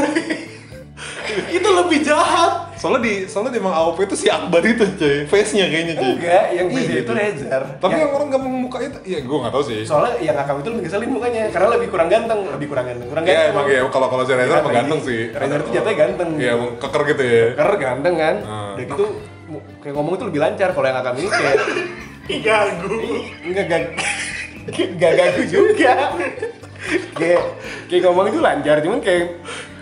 S3: Itu lebih jahat
S2: soalnya di soalnya di emang AOP itu si Akbar itu cuy, face-nya kayaknya cuy.
S4: enggak yang
S2: Iya,
S4: beda itu
S2: gitu.
S4: Rezar
S2: Tapi
S4: Yang-
S2: yang orang gak muka itu, ya gue gak tahu sih.
S4: soalnya yang akam itu lebih ngeselin mukanya karena lebih kurang ganteng lebih kurang ganteng kurang
S2: ya
S4: ganteng
S2: emang ya kalau kalau si Reza emang ganteng sih.
S4: Rezar Iya, itu jatuhnya ganteng
S2: Iya, emang keker gitu ya.
S4: karena ganteng kan
S2: Hmm.
S4: udah gitu mu- kayak ngomong itu lebih lancar kalau yang akam ini kayak
S3: Ih ganggu
S4: Enggak gag gak gagu juga. kayak kayak ngomong itu lancar, cuman kayak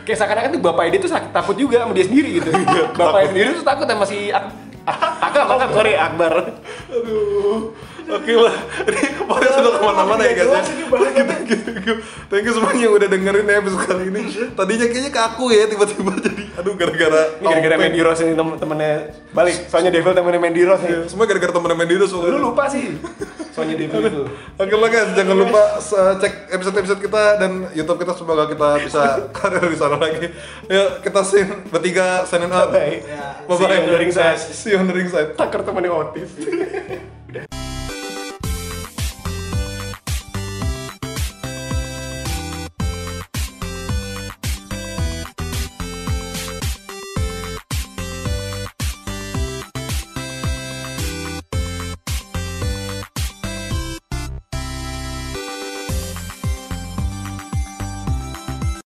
S4: kayak seakan-akan tuh bapaknya dia tuh sakit, takut juga sama dia sendiri gitu. bapaknya sendiri tuh takut sama si Ak Ak- Akam, Akam, sorry Akbar.
S2: Aduh, oke lah. Ini kemarin sudah Oh, kemana-mana ya
S3: Jelas
S2: guys.
S3: ini
S2: ya. Thank you, thank you. Thank you semuanya yang udah dengerin episode kali ini.
S4: Iya.
S2: Tadinya kayaknya kaku ya, tiba-tiba jadi aduh gara-gara
S4: Ini gara-gara
S2: AOP.
S4: Mandy Rose ini tem temennya balik. Soalnya Devil temennya Mandy Rose nih.
S2: Iya. Semua gara-gara temennya Mandy Rose waktu
S4: Lu
S2: itu.
S4: lupa sih. Sonya Deville itu.
S2: Oke lah guys, jangan
S4: Iya.
S2: lupa se- cek episode-episode kita dan YouTube kita semoga kita bisa karir di sana lagi. Yuk, kita sin bertiga sign out.
S4: Bye.
S2: Bye
S4: See you on the
S2: bye.
S4: ringside.
S2: See you on the ringside.
S4: Takar temannya Otis.